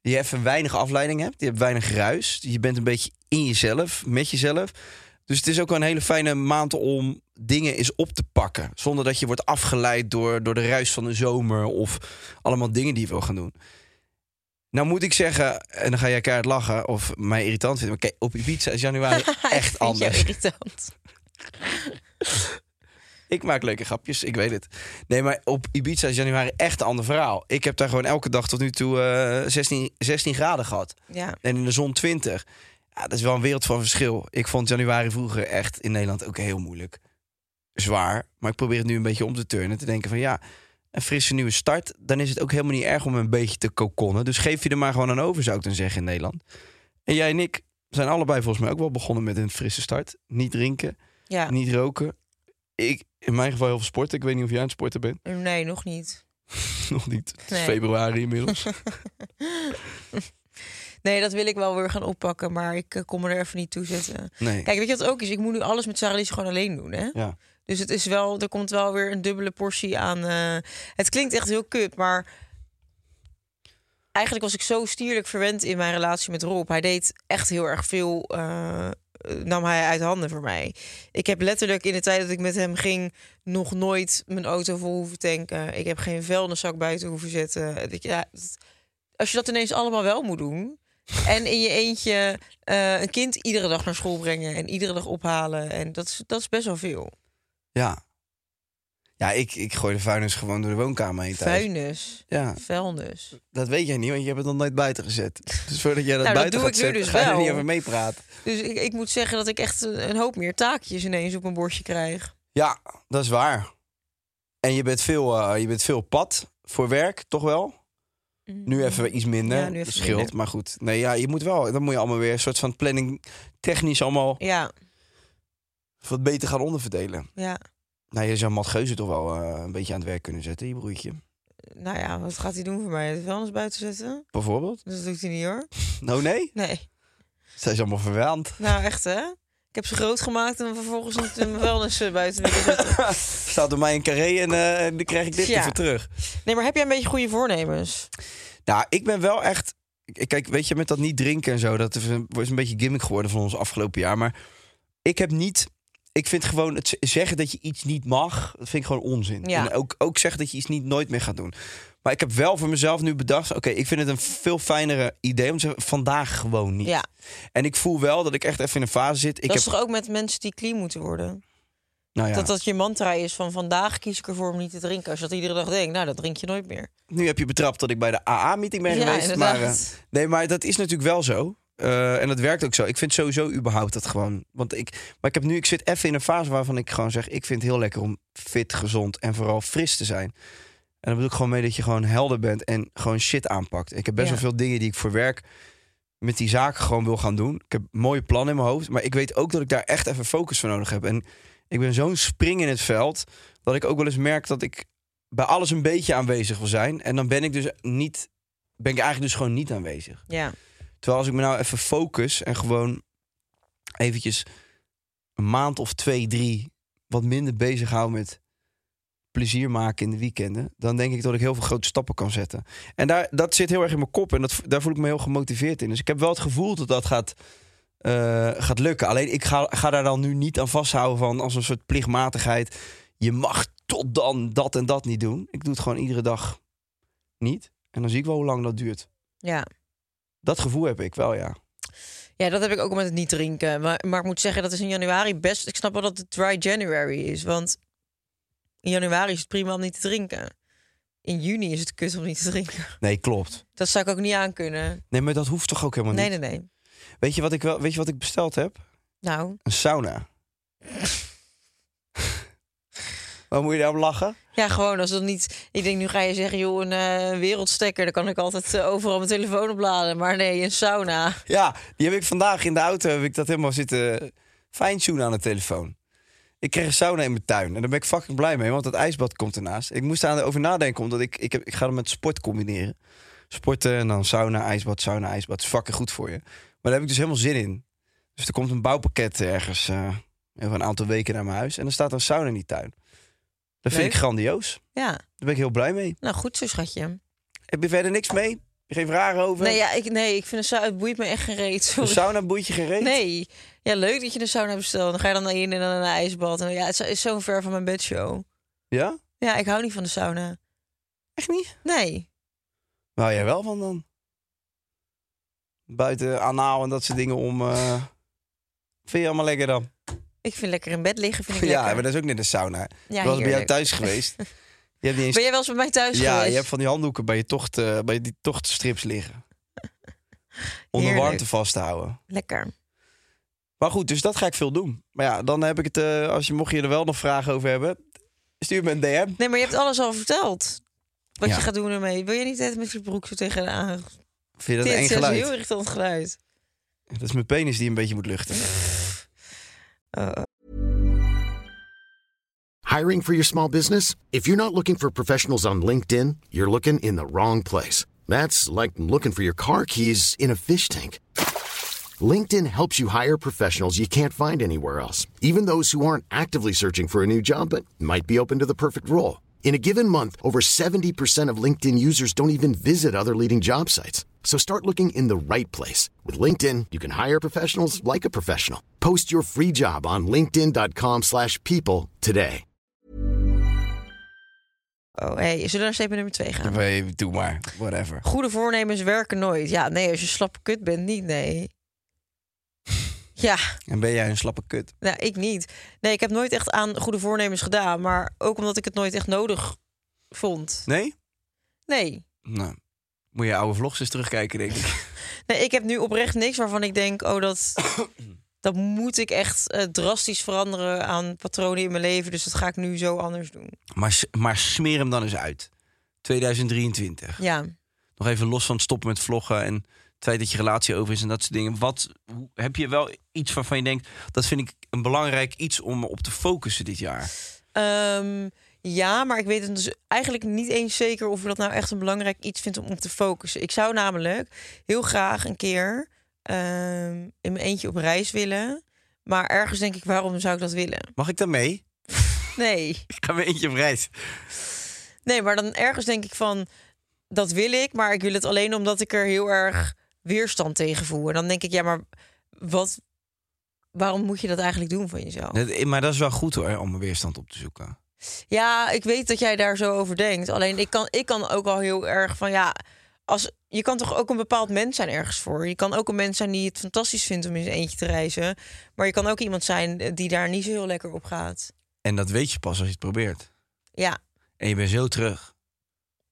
Speaker 1: je even weinig afleiding hebt. Je hebt weinig ruis. Je bent een beetje in jezelf, met jezelf. Dus het is ook wel een hele fijne maand om dingen eens op te pakken. Zonder dat je wordt afgeleid door, door de ruis van de zomer of allemaal dingen die je wil gaan doen. Nou moet ik zeggen, en dan ga jij keihard lachen of mij irritant vinden. Maar kijk, op Ibiza is
Speaker 2: (laughs)
Speaker 1: januari echt
Speaker 2: Vind jij
Speaker 1: anders.
Speaker 2: irritant.
Speaker 1: Ik maak leuke grapjes, ik weet het. Nee, maar op Ibiza is januari echt een ander verhaal. Ik heb daar gewoon elke dag tot nu toe eh 16, 16 graden gehad.
Speaker 2: Ja.
Speaker 1: En in de zon 20. Ja, dat is wel een wereld van verschil. Ik vond januari vroeger echt in Nederland ook heel moeilijk. Zwaar. Maar ik probeer het nu een beetje om te turnen. Te denken van ja, een frisse nieuwe start. Dan is het ook helemaal niet erg om een beetje te kokonnen. Dus geef je er maar gewoon aan over, zou ik dan zeggen in Nederland. En jij en ik zijn allebei volgens mij ook wel begonnen met een frisse start. Niet drinken,
Speaker 2: ja.
Speaker 1: niet roken. Ik, in mijn geval heel veel sporten. Ik weet niet of jij aan het sporten bent. (laughs)
Speaker 2: Nee, nog niet.
Speaker 1: Nog niet. Het is
Speaker 2: Nee.
Speaker 1: februari
Speaker 2: (laughs)
Speaker 1: inmiddels.
Speaker 2: Nee, dat wil ik wel weer gaan oppakken, maar ik eh, kon me er even niet toe zetten.
Speaker 1: Nee.
Speaker 2: Kijk, weet je wat ook is? Ik moet nu alles met Sarah Lise gewoon alleen doen, hè?
Speaker 1: Ja.
Speaker 2: Dus het is wel, er komt wel weer een dubbele portie aan. eh, het klinkt echt heel kut, maar eigenlijk was ik zo stierlijk verwend in mijn relatie met Rob. Hij deed echt heel erg veel, eh, nam hij uit handen voor mij. Ik heb letterlijk in de tijd dat ik met hem ging nog nooit mijn auto vol hoeven tanken. Ik heb geen vuilniszak buiten hoeven zetten. Het- ik- Ja, het- als je dat ineens allemaal wel moet doen. En in je eentje eh, een kind iedere dag naar school brengen en iedere dag ophalen. En dat is, dat is best wel veel.
Speaker 1: Ja. Ja, ik, ik gooi de vuilnis gewoon door de woonkamer heen thuis.
Speaker 2: Vuilnis.
Speaker 1: Ja,
Speaker 2: Vuilnis.
Speaker 1: dat weet jij niet, want je hebt het nog nooit buiten gezet. (laughs) Dus voordat jij dat
Speaker 2: Nou, dat
Speaker 1: buiten
Speaker 2: doe
Speaker 1: gaat
Speaker 2: ik
Speaker 1: zetten,
Speaker 2: nu dus
Speaker 1: ga je er
Speaker 2: wel.
Speaker 1: niet over meepraten.
Speaker 2: Dus ik, ik moet zeggen dat ik echt een, een hoop meer taakjes ineens op mijn bordje krijg.
Speaker 1: Ja, dat is waar. En je bent veel, eh, je bent veel op pad voor werk, toch wel? Nu even iets minder,
Speaker 2: Mhm. Ja, nu even
Speaker 1: dat scheelt,
Speaker 2: minder.
Speaker 1: maar goed. Nee, ja, je moet wel, dan moet je allemaal weer een soort van planning technisch allemaal
Speaker 2: Ja,
Speaker 1: wat beter gaan onderverdelen.
Speaker 2: ja.
Speaker 1: Nou, je zou Matt Geuze toch wel eh, een beetje aan het werk kunnen zetten, je broertje.
Speaker 2: Nou ja, wat gaat hij doen voor mij? De vuilnis buiten zetten?
Speaker 1: Bijvoorbeeld.
Speaker 2: Dat doet hij niet hoor.
Speaker 1: Nou nee,
Speaker 2: Nee.
Speaker 1: zij is allemaal verwaand.
Speaker 2: Nou echt hè? Ik heb ze groot gemaakt en vervolgens niet mijn vuilnis eh, buiten willen zetten.
Speaker 1: (laughs) Staat door mij een carré en eh, dan krijg ik dit
Speaker 2: Ja.
Speaker 1: ervoor terug.
Speaker 2: Nee, maar heb jij een beetje goede voornemens?
Speaker 1: Nou, ik ben wel echt. ik- Kijk, weet je, met dat niet drinken en zo, dat is een, is een beetje gimmick geworden van ons afgelopen jaar. Maar ik heb niet. Ik vind gewoon het z- zeggen dat je iets niet mag, dat vind ik gewoon onzin.
Speaker 2: Ja.
Speaker 1: En ook, ook zeggen dat je iets niet nooit meer gaat doen. Maar ik heb wel voor mezelf nu bedacht, oké, ik vind het een veel fijnere idee om te zeggen, vandaag gewoon niet.
Speaker 2: Ja.
Speaker 1: En ik voel wel dat ik echt even in een fase zit. Ik
Speaker 2: dat
Speaker 1: heb,
Speaker 2: is toch ook met mensen die clean moeten worden?
Speaker 1: nou ja,
Speaker 2: Dat dat je mantra is van vandaag kies ik ervoor om niet te drinken. Als je dat iedere dag denkt, nou, dat drink je nooit meer.
Speaker 1: Nu heb je betrapt dat ik bij de AA-meeting ben
Speaker 2: Ja,
Speaker 1: geweest. Maar,
Speaker 2: inderdaad.
Speaker 1: eh, nee, maar dat is natuurlijk wel zo. Eh, en dat werkt ook zo. Ik vind sowieso überhaupt dat gewoon. Want ik, maar ik heb nu, ik zit even in een fase waarvan ik gewoon zeg: ik vind het heel lekker om fit, gezond en vooral fris te zijn. En dat bedoel ik gewoon mee dat je gewoon helder bent en gewoon shit aanpakt. Ik heb best
Speaker 2: Ja.
Speaker 1: wel veel dingen die ik voor werk met die zaak gewoon wil gaan doen. Ik heb mooie plannen in mijn hoofd, maar ik weet ook dat ik daar echt even focus voor nodig heb. En ik ben zo'n spring in het veld dat ik ook wel eens merk dat ik bij alles een beetje aanwezig wil zijn. En dan ben ik dus niet, ben ik eigenlijk dus gewoon niet aanwezig.
Speaker 2: Ja.
Speaker 1: Terwijl als ik me nou even focus en gewoon eventjes een maand of twee, drie wat minder bezig hou met plezier maken in de weekenden, dan denk ik dat ik heel veel grote stappen kan zetten. En daar, dat zit heel erg in mijn kop en dat, daar voel ik me heel gemotiveerd in. Dus ik heb wel het gevoel dat dat gaat, eh, gaat lukken. Alleen ik ga, ga daar dan nu niet aan vasthouden van als een soort plichtmatigheid. Je mag tot dan dat en dat niet doen. Ik doe het gewoon iedere dag niet. En dan zie ik wel hoe lang dat duurt.
Speaker 2: Ja.
Speaker 1: Dat gevoel heb ik wel, ja.
Speaker 2: ja, dat heb ik ook met het niet drinken. Maar, maar ik moet zeggen, dat is in januari best... Ik snap wel dat het dry January is. Want in januari is het prima om niet te drinken. In juni is het kut om niet te drinken. (laughs)
Speaker 1: Nee, klopt.
Speaker 2: Dat zou ik ook niet aankunnen.
Speaker 1: Nee, maar dat hoeft toch ook helemaal
Speaker 2: Nee,
Speaker 1: Oh, niet?
Speaker 2: nee, nee.
Speaker 1: Weet, je wat ik wel, weet je wat ik besteld heb?
Speaker 2: Nou,
Speaker 1: Een sauna. Waar moet je daarom lachen?
Speaker 2: ja, gewoon als dat niet... Ik denk, nu ga je zeggen, joh, een eh, wereldstekker... daar kan ik altijd eh, overal mijn telefoon opladen. Maar nee, een sauna.
Speaker 1: Ja, die heb ik vandaag in de auto. Heb ik dat helemaal zitten fine-tunen aan de telefoon. Ik kreeg een sauna in mijn tuin. En daar ben ik fucking blij mee, want dat ijsbad komt ernaast. Ik moest daarover nadenken, omdat ik, ik, heb, ik ga dat met sport combineren. Sporten en dan sauna, ijsbad, sauna, ijsbad. is fucking goed voor je. Maar daar heb ik dus helemaal zin in. Dus er komt een bouwpakket ergens eh, over een aantal weken naar mijn huis. En dan staat er een sauna in die tuin. Dat vind
Speaker 2: Leuk.
Speaker 1: ik grandioos.
Speaker 2: Ja,
Speaker 1: Daar ben ik heel blij mee.
Speaker 2: nou goed zo, schatje.
Speaker 1: Heb je verder niks mee? Geen vragen over?
Speaker 2: Nee, ja, ik, nee ik vind een sauna... Het boeit me echt geen reet,
Speaker 1: Een
Speaker 2: sorry.
Speaker 1: sauna boeitje gereed?
Speaker 2: Nee. Ja, leuk dat je een sauna bestelt. Dan ga je dan naar in en dan naar een ijsbad. En ja, het is zo ver van mijn bedshow.
Speaker 1: Ja?
Speaker 2: Ja, ik hou niet van de sauna.
Speaker 1: Echt niet?
Speaker 2: Nee.
Speaker 1: Waar jij wel van dan? Buiten anaal en dat soort dingen om. eh, Vind je allemaal lekker dan?
Speaker 2: Ik vind lekker in bed liggen, vind
Speaker 1: (laughs)
Speaker 2: ik
Speaker 1: Ja,
Speaker 2: lekker.
Speaker 1: maar dat is ook net een sauna.
Speaker 2: Ja,
Speaker 1: ik was bij jou
Speaker 2: heerlijk.
Speaker 1: thuis
Speaker 2: (laughs)
Speaker 1: geweest. Je hebt niet eens...
Speaker 2: Ben jij wel eens bij mij thuis
Speaker 1: ja,
Speaker 2: geweest?
Speaker 1: je hebt van die handdoeken bij je tocht, eh, bij die tochtstrips
Speaker 2: (laughs)
Speaker 1: liggen. Om de
Speaker 2: Heerlijk.
Speaker 1: warmte vast te houden.
Speaker 2: Lekker.
Speaker 1: Maar goed, dus dat ga ik veel doen. Maar ja, dan heb ik het, eh, als je, mocht je er wel nog vragen over hebben, stuur me een DM.
Speaker 2: Nee, maar je hebt alles al verteld. Wat
Speaker 1: Ja.
Speaker 2: je gaat doen ermee. Wil je niet net met je broek zo tegen de aan?
Speaker 1: Vind je dat
Speaker 2: Dit
Speaker 1: een eng
Speaker 2: is een heel
Speaker 1: geluid?
Speaker 2: irritant geluid.
Speaker 1: Dat is mijn penis die een beetje moet
Speaker 2: (laughs)
Speaker 1: luchten.
Speaker 2: Oh.
Speaker 5: Hiring for your small business? If you're not looking for professionals on LinkedIn, you're looking in the wrong place. That's like looking for your car keys in a fish tank. LinkedIn helps you hire professionals you can't find anywhere else, even those who aren't actively searching for a new job but might be open to the perfect role. In a given month, over 70% of LinkedIn users don't even visit other leading job sites. So start looking in the right place. With LinkedIn, you can hire professionals like a professional. Post your free job on linkedin.com/people slash people today.
Speaker 2: Oh, hey, zullen we naar statement nummer twee gaan?
Speaker 1: Nee, Doe maar, whatever.
Speaker 2: Goede voornemens werken nooit. Ja, nee, als je slappe kut bent, niet, nee. Ja,
Speaker 1: En ben jij een slappe kut?
Speaker 2: Nou, ik niet. Nee, ik heb nooit echt aan goede voornemens gedaan. Maar ook omdat ik het nooit echt nodig vond.
Speaker 1: Nee?
Speaker 2: Nee.
Speaker 1: Nou, moet je oude vlogs eens terugkijken, denk ik.
Speaker 2: Nee, ik heb nu oprecht niks waarvan ik denk... oh, dat, dat moet ik echt eh, drastisch veranderen aan patronen in mijn leven. Dus dat ga ik nu zo anders doen.
Speaker 1: maar, s- maar smeer hem dan eens uit. 2023.
Speaker 2: Ja,
Speaker 1: Nog even los van het stoppen met vloggen en het feit dat je relatie over is en dat soort dingen. Wat hoe- heb je wel iets waarvan je denkt, dat vind ik een belangrijk iets om op te focussen dit jaar?
Speaker 2: Ehm, ja maar ik weet het dus eigenlijk niet eens zeker... of ik dat nou echt een belangrijk iets vind om op te focussen. Ik zou namelijk heel graag een keer ehm, in mijn eentje op reis willen... Maar ergens denk ik, waarom zou ik dat willen?
Speaker 1: Mag ik dan mee?
Speaker 2: Nee.
Speaker 1: (laughs) Ik ga weer eentje op reis.
Speaker 2: Nee, maar dan ergens denk ik van dat wil ik, maar ik wil het alleen omdat ik er heel
Speaker 1: Ah.
Speaker 2: erg weerstand tegen voel. En dan denk ik, ja, maar wat, waarom moet je dat eigenlijk doen van jezelf?
Speaker 1: Nee, Maar dat is wel goed hoor, om een weerstand op te zoeken.
Speaker 2: Ja, ik weet dat jij daar zo over denkt. Alleen ik kan, ik kan ook al heel erg van ja, als, je kan toch ook een bepaald mens zijn ergens voor. Je kan ook een mens zijn die het fantastisch vindt om in zijn eentje te reizen. Maar je kan ook iemand zijn eh, die daar niet zo heel lekker op gaat.
Speaker 1: En dat weet je pas als je het probeert.
Speaker 2: Ja,
Speaker 1: En je bent zo terug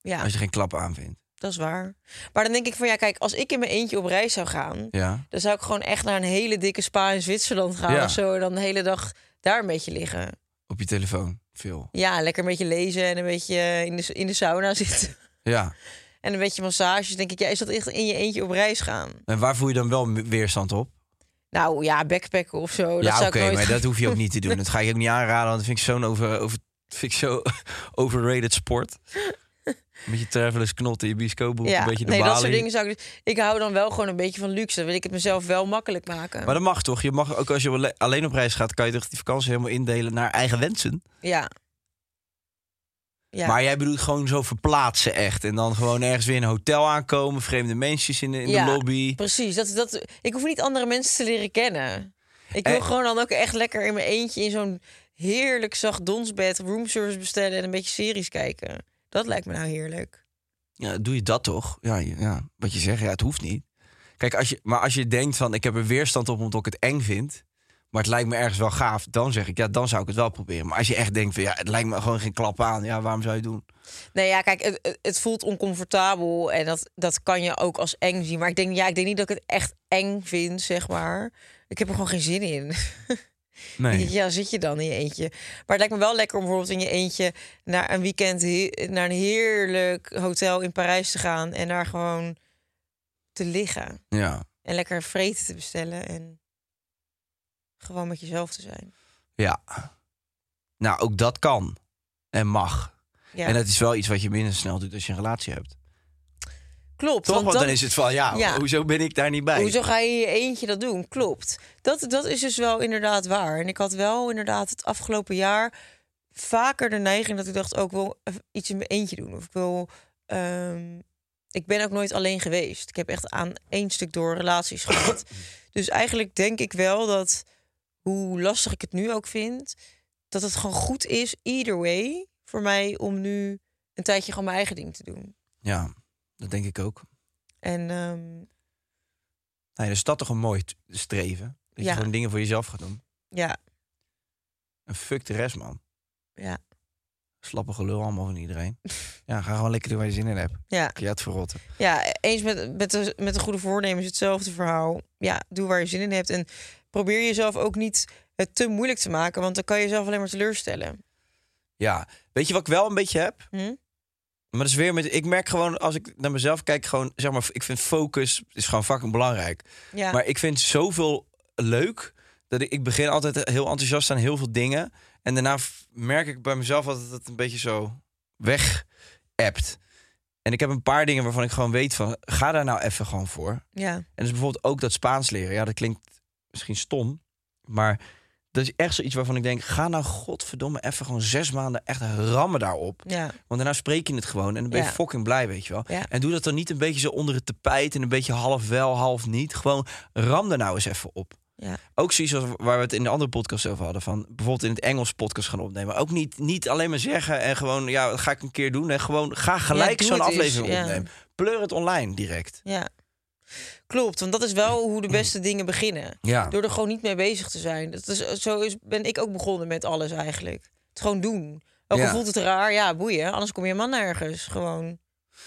Speaker 2: ja,
Speaker 1: als je geen klap aanvindt.
Speaker 2: dat is waar. Maar dan denk ik van ja, kijk, als ik in mijn eentje op reis zou gaan,
Speaker 1: Ja.
Speaker 2: Dan zou ik gewoon echt naar een hele dikke spa in Zwitserland gaan
Speaker 1: Ja.
Speaker 2: of zo. En dan de hele dag daar een beetje liggen.
Speaker 1: Op je telefoon. Veel.
Speaker 2: Ja, lekker een beetje lezen en een beetje eh, in de, in de sauna (laughs) zitten.
Speaker 1: Ja.
Speaker 2: En een beetje massages. denk ik, ja, is dat echt in je eentje op reis gaan?
Speaker 1: En waar voel je dan wel me- weerstand op?
Speaker 2: Nou ja, backpacken of zo. Oh, Dat
Speaker 1: ja,
Speaker 2: zou
Speaker 1: oké,
Speaker 2: ik nooit
Speaker 1: maar
Speaker 2: gaan.
Speaker 1: dat hoef je ook niet te
Speaker 2: (laughs)
Speaker 1: doen. Dat ga ik ook niet aanraden, want dat vind ik zo'n over, over, vind ik zo (laughs) overrated sport. Met je travelers knot in je bioscoopboek,
Speaker 2: ja.
Speaker 1: een beetje de
Speaker 2: nee, dat
Speaker 1: balie.
Speaker 2: soort dingen zou ik... dus- Ik hou dan wel gewoon een beetje van luxe. Dan wil ik het mezelf wel makkelijk maken.
Speaker 1: Maar dat mag toch? Je mag ook als je alle- alleen op reis gaat, kan je toch die vakantie helemaal indelen naar eigen wensen.
Speaker 2: Ja. Ja.
Speaker 1: Maar jij bedoelt gewoon zo verplaatsen echt. En dan gewoon ergens weer in een hotel aankomen, vreemde mensjes in de, in
Speaker 2: Ja,
Speaker 1: de lobby.
Speaker 2: Precies. Dat, dat, ik hoef niet andere mensen te leren kennen. Ik wil
Speaker 1: Eh.
Speaker 2: gewoon dan ook echt lekker in mijn eentje in zo'n heerlijk zacht donsbed roomservice bestellen en een beetje series kijken. Dat lijkt me nou heerlijk.
Speaker 1: Ja, doe je dat toch? Ja, je- ja, wat je zegt, ja, het hoeft niet. Kijk, als je, maar als je denkt van ik heb er weerstand op omdat ik het eng vind, maar het lijkt me ergens wel gaaf, dan zeg ik ja, dan zou ik het wel proberen. Maar als je echt denkt van ja, het lijkt me gewoon geen klap aan, ja, waarom zou je het doen?
Speaker 2: Nee, ja, kijk, het- het, het voelt oncomfortabel en dat, dat kan je ook als eng zien. Maar ik denk, ja, ik denk niet dat ik het echt eng vind, zeg maar. Ik heb er gewoon geen zin in.
Speaker 1: Nee.
Speaker 2: Ja, zit je dan in je eentje. Maar het lijkt me wel lekker om bijvoorbeeld in je eentje naar een weekend he- naar een heerlijk hotel in Parijs te gaan en daar gewoon te liggen
Speaker 1: Ja.
Speaker 2: en lekker vreten te bestellen en gewoon met jezelf te zijn.
Speaker 1: Ja. Nou, ook dat kan en mag.
Speaker 2: Ja,
Speaker 1: En dat is wel iets wat je minder snel doet als je een relatie hebt.
Speaker 2: klopt.
Speaker 1: Toch? Want
Speaker 2: dan-
Speaker 1: dan is het van ja,
Speaker 2: Ja.
Speaker 1: hoezo ben ik daar niet bij?
Speaker 2: Hoezo ga je in je eentje dat doen? Klopt. Dat, dat is dus wel inderdaad waar. En ik had wel inderdaad het afgelopen jaar vaker de neiging dat ik dacht, ook ik wil even iets in mijn eentje doen. Of ik wil. ehm, ik ben ook nooit alleen geweest. Ik heb echt aan één stuk door relaties gehad. Dus eigenlijk denk ik wel dat, hoe lastig ik het nu ook vind, dat het gewoon goed is, either way, voor mij om nu een tijdje gewoon mijn eigen ding te doen.
Speaker 1: Ja, dat denk ik ook.
Speaker 2: En ehm,
Speaker 1: Nee, dus dat toch een mooi t- streven. Dat
Speaker 2: Ja.
Speaker 1: je gewoon dingen voor jezelf gaat doen.
Speaker 2: ja,
Speaker 1: En fuck de rest, man.
Speaker 2: ja,
Speaker 1: Slappe gelul allemaal van
Speaker 2: (laughs)
Speaker 1: iedereen. ja, ga gewoon lekker doen waar je zin in hebt.
Speaker 2: ja.
Speaker 1: Kun je het verrotten.
Speaker 2: Ja, eens met, met, de, met de goede voornemens hetzelfde verhaal. Ja, doe waar je zin in hebt. En probeer jezelf ook niet het te moeilijk te maken, want dan kan je jezelf alleen maar teleurstellen.
Speaker 1: Ja, weet je wat ik wel een beetje heb?
Speaker 2: Hm?
Speaker 1: Maar dat is weer met... Ik merk gewoon, als ik naar mezelf kijk, gewoon... Zeg maar, ik vind focus is gewoon fucking belangrijk.
Speaker 2: Ja,
Speaker 1: Maar ik vind zoveel leuk... Dat ik, ik begin altijd heel enthousiast aan heel veel dingen. En daarna f- merk ik bij mezelf altijd dat het een beetje zo weg appt. En ik heb een paar dingen waarvan ik gewoon weet van... Ga daar nou even gewoon voor.
Speaker 2: ja,
Speaker 1: En dus bijvoorbeeld ook dat Spaans leren. Ja, dat klinkt misschien stom, maar dat is echt zoiets waarvan ik denk: ga nou godverdomme even gewoon zes maanden echt rammen daarop.
Speaker 2: ja,
Speaker 1: Want daarna spreek je het gewoon en dan ben je
Speaker 2: Ja.
Speaker 1: fucking blij, weet je wel.
Speaker 2: Ja.
Speaker 1: En doe dat dan niet een beetje zo onder het tapijt en een beetje half wel, half niet. Gewoon ram er nou eens even op.
Speaker 2: ja.
Speaker 1: Ook zoiets als waar we het in de andere podcast over hadden. Van bijvoorbeeld in het Engels podcast gaan opnemen. Ook niet, niet alleen maar zeggen en gewoon, ja, dat ga ik een keer doen. En gewoon ga gelijk
Speaker 2: doe
Speaker 1: zo'n
Speaker 2: het eens,
Speaker 1: aflevering
Speaker 2: ja.
Speaker 1: opnemen. Pleur het online direct.
Speaker 2: ja. Klopt, want dat is wel hoe de beste dingen beginnen.
Speaker 1: Ja.
Speaker 2: Door er gewoon niet mee bezig te zijn. Dat is, zo is, ben ik ook begonnen met alles eigenlijk. Het gewoon doen. Ook
Speaker 1: Ja.
Speaker 2: al voelt het raar, ja, boeien. Anders kom je helemaal nergens. Gewoon.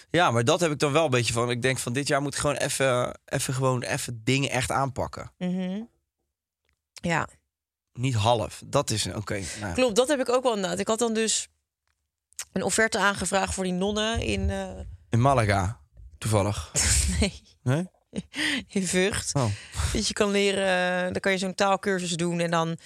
Speaker 1: Ja, maar dat heb ik dan wel een beetje van. Ik denk van dit jaar moet ik gewoon even, even, gewoon even dingen echt aanpakken.
Speaker 2: Mhm. Ja.
Speaker 1: Niet half. Dat is een oké. nou,
Speaker 2: Klopt, dat heb ik ook wel inderdaad. Ik had dan dus een offerte aangevraagd voor die nonnen in, eh,
Speaker 1: in Malaga, toevallig.
Speaker 2: (laughs) nee,
Speaker 1: Nee?
Speaker 2: in Vught.
Speaker 1: Oh.
Speaker 2: Dus je kan leren, eh, dan kan je zo'n taalkursus doen en dan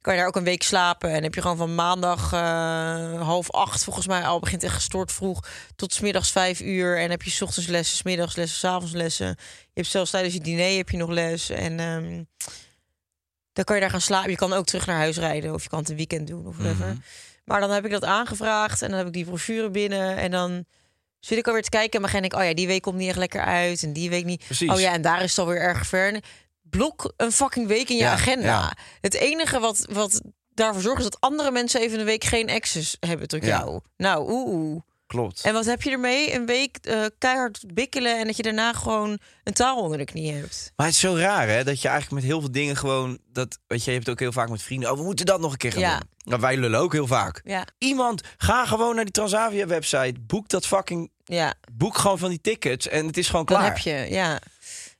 Speaker 2: kan je daar ook een week slapen. En heb je gewoon van maandag eh, half acht volgens mij al begint echt gestort vroeg tot 's middags vijf uur. En heb je 's ochtends lessen, 's middags lessen, 's avonds lessen. Je hebt zelfs tijdens je diner heb je nog les en ehm, dan kan je daar gaan slapen. Je kan ook terug naar huis rijden of je kan het een weekend doen of whatever. Maar dan heb ik dat aangevraagd en dan heb ik die brochure binnen en dan zit ik alweer te kijken en begin ik, oh ja, die week komt niet echt lekker uit en die week niet.
Speaker 1: Precies.
Speaker 2: Oh ja, en daar is het alweer erg ver. En Blok een fucking week in je
Speaker 1: Ja,
Speaker 2: agenda.
Speaker 1: ja.
Speaker 2: Het enige wat, wat daarvoor zorgt is dat andere mensen even een week geen access hebben tot
Speaker 1: Ja.
Speaker 2: jou. Nou, oeh, oeh.
Speaker 1: Klopt.
Speaker 2: En wat heb je ermee? Een week eh, keihard bikkelen en dat je daarna gewoon een taal onder de knie hebt.
Speaker 1: Maar het is zo raar hè, dat je eigenlijk met heel veel dingen gewoon dat weet je, je hebt het ook heel vaak met vrienden. Oh, we moeten dat nog een keer gaan
Speaker 2: Ja.
Speaker 1: doen. Nou, wij lullen ook heel vaak.
Speaker 2: Ja,
Speaker 1: Iemand ga gewoon naar die Transavia website, boek dat fucking
Speaker 2: ja.
Speaker 1: boek gewoon van die tickets en het is gewoon
Speaker 2: Dan
Speaker 1: klaar.
Speaker 2: heb je, ja. ja
Speaker 1: Ik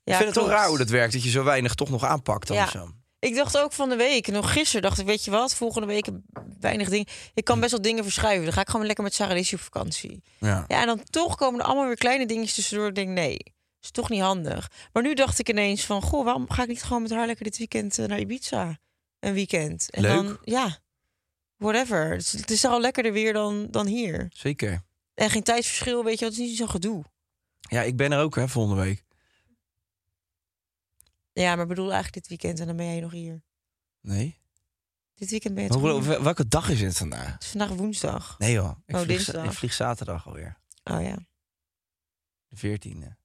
Speaker 1: vind het
Speaker 2: klopt.
Speaker 1: toch raar hoe dat werkt dat je zo weinig toch nog aanpakt dan
Speaker 2: Ja.
Speaker 1: of zo.
Speaker 2: Ik dacht ook van de week, nog gisteren dacht ik, weet je wat, volgende week weinig dingen. Ik kan best wel dingen verschuiven. Dan ga ik gewoon lekker met Sarah Lissie op vakantie.
Speaker 1: Ja.
Speaker 2: Ja, en dan toch komen er allemaal weer kleine dingetjes tussendoor. Ik denk, nee, is toch niet handig. Maar nu dacht ik ineens van, goh, waarom ga ik niet gewoon met haar lekker dit weekend eh, naar Ibiza? Een weekend. En
Speaker 1: Leuk.
Speaker 2: dan, ja, whatever. Het is, het is daar al lekkerder weer dan, dan hier.
Speaker 1: Zeker.
Speaker 2: En geen tijdsverschil, weet je wat, het is niet zo'n gedoe.
Speaker 1: Ja, ik ben er ook hè volgende week.
Speaker 2: Ja, maar ik bedoel eigenlijk dit weekend en dan ben jij nog hier.
Speaker 1: Nee.
Speaker 2: Dit weekend ben je toch
Speaker 1: Hoe-
Speaker 2: hier?
Speaker 1: wel- welke dag is het vandaag?
Speaker 2: Het is vandaag woensdag.
Speaker 1: Nee joh, ik,
Speaker 2: Oh,
Speaker 1: vlieg,
Speaker 2: dinsdag.
Speaker 1: ik vlieg zaterdag alweer.
Speaker 2: Oh ja.
Speaker 1: De 14e.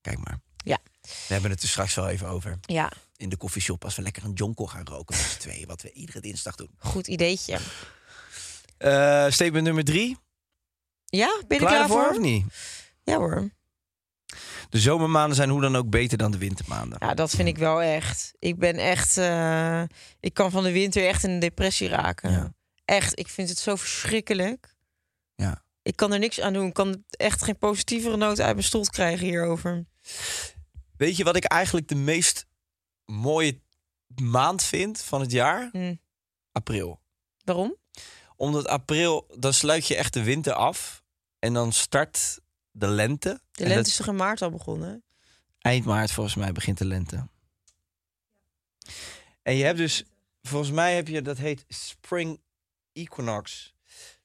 Speaker 1: Kijk maar.
Speaker 2: Ja.
Speaker 1: We hebben het er straks wel even over.
Speaker 2: Ja,
Speaker 1: In de koffieshop als we lekker een jonko gaan roken met z'n tweeën. Wat we iedere dinsdag doen.
Speaker 2: goed ideetje.
Speaker 1: statement nummer drie.
Speaker 2: Ja, ben Eh, je er
Speaker 1: Klaar
Speaker 2: klaar
Speaker 1: ervoor of
Speaker 2: voor?
Speaker 1: niet?
Speaker 2: Ja hoor.
Speaker 1: De zomermaanden zijn hoe dan ook beter dan de wintermaanden.
Speaker 2: Ja, dat vind ik wel echt. Ik ben echt... eh, ik kan van de winter echt in een depressie raken.
Speaker 1: Ja.
Speaker 2: Echt, ik vind het zo verschrikkelijk.
Speaker 1: Ja.
Speaker 2: Ik kan er niks aan doen. Ik kan echt geen positievere noot uit mijn stoel krijgen hierover.
Speaker 1: Weet je wat ik eigenlijk de meest mooie maand vind van het jaar?
Speaker 2: Hm.
Speaker 1: April.
Speaker 2: Waarom?
Speaker 1: Omdat april, dan sluit je echt de winter af. En dan start de lente.
Speaker 2: De
Speaker 1: En
Speaker 2: lente
Speaker 1: dat-
Speaker 2: is toch in maart al begonnen?
Speaker 1: Eind maart volgens mij begint de lente. En je hebt dus, volgens mij heb je, dat heet Spring Equinox.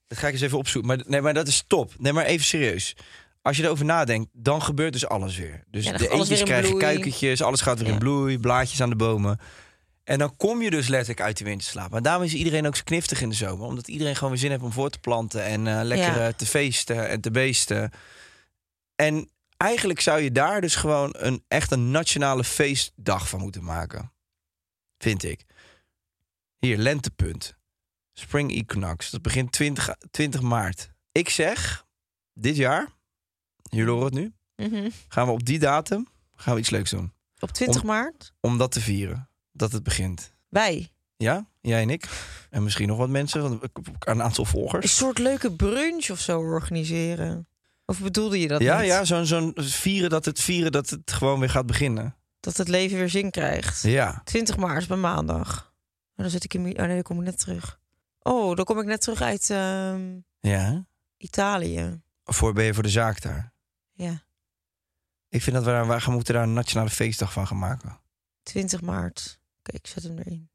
Speaker 1: Dat ga ik eens even opzoeken. Maar, nee, maar dat is top. Nee, maar even serieus. Als je erover nadenkt, dan gebeurt dus alles weer. Dus
Speaker 2: Ja, dan
Speaker 1: de
Speaker 2: gaat alles
Speaker 1: eentjes
Speaker 2: weer in
Speaker 1: krijgen
Speaker 2: bloei.
Speaker 1: kuikentjes, alles gaat weer in
Speaker 2: Ja.
Speaker 1: bloei, blaadjes aan de bomen. En dan kom je dus letterlijk uit de winterslaap. Maar daarom is iedereen ook zo kniftig in de zomer. Omdat iedereen gewoon weer zin heeft om voor te planten en eh, lekker
Speaker 2: Ja.
Speaker 1: eh, te feesten en te beesten. En eigenlijk zou je daar dus gewoon een echt een nationale feestdag van moeten maken. Vind ik. Hier, lentepunt. Spring Equinox. Dat begint 20, 20 maart. Ik zeg, dit jaar, jullie horen het nu,
Speaker 2: Mhm.
Speaker 1: gaan we op die datum gaan we iets leuks doen.
Speaker 2: Op 20
Speaker 1: Om-
Speaker 2: maart?
Speaker 1: Om dat te vieren. Dat het begint.
Speaker 2: Wij.
Speaker 1: Ja, jij en ik. En misschien nog wat mensen, want ik heb ook een aantal
Speaker 2: Een
Speaker 1: volgers.
Speaker 2: soort leuke brunch of zo organiseren. Of bedoelde je dat
Speaker 1: Ja,
Speaker 2: niet?
Speaker 1: ja, zo'n zo'n vieren dat het vieren dat het gewoon weer gaat beginnen.
Speaker 2: Dat het leven weer zin krijgt.
Speaker 1: Ja.
Speaker 2: 20 maart is bij maandag. Maar dan zit ik in... Mi- Oh nee, dan kom ik net terug. Oh, dan kom ik net terug uit ehm,
Speaker 1: Ja.
Speaker 2: Italië.
Speaker 1: Voor ben je voor de zaak daar.
Speaker 2: Ja,
Speaker 1: Ik vind dat we, daar, we gaan moeten daar een nationale feestdag van gaan maken.
Speaker 2: 20 maart. Kijk, ik zet hem erin.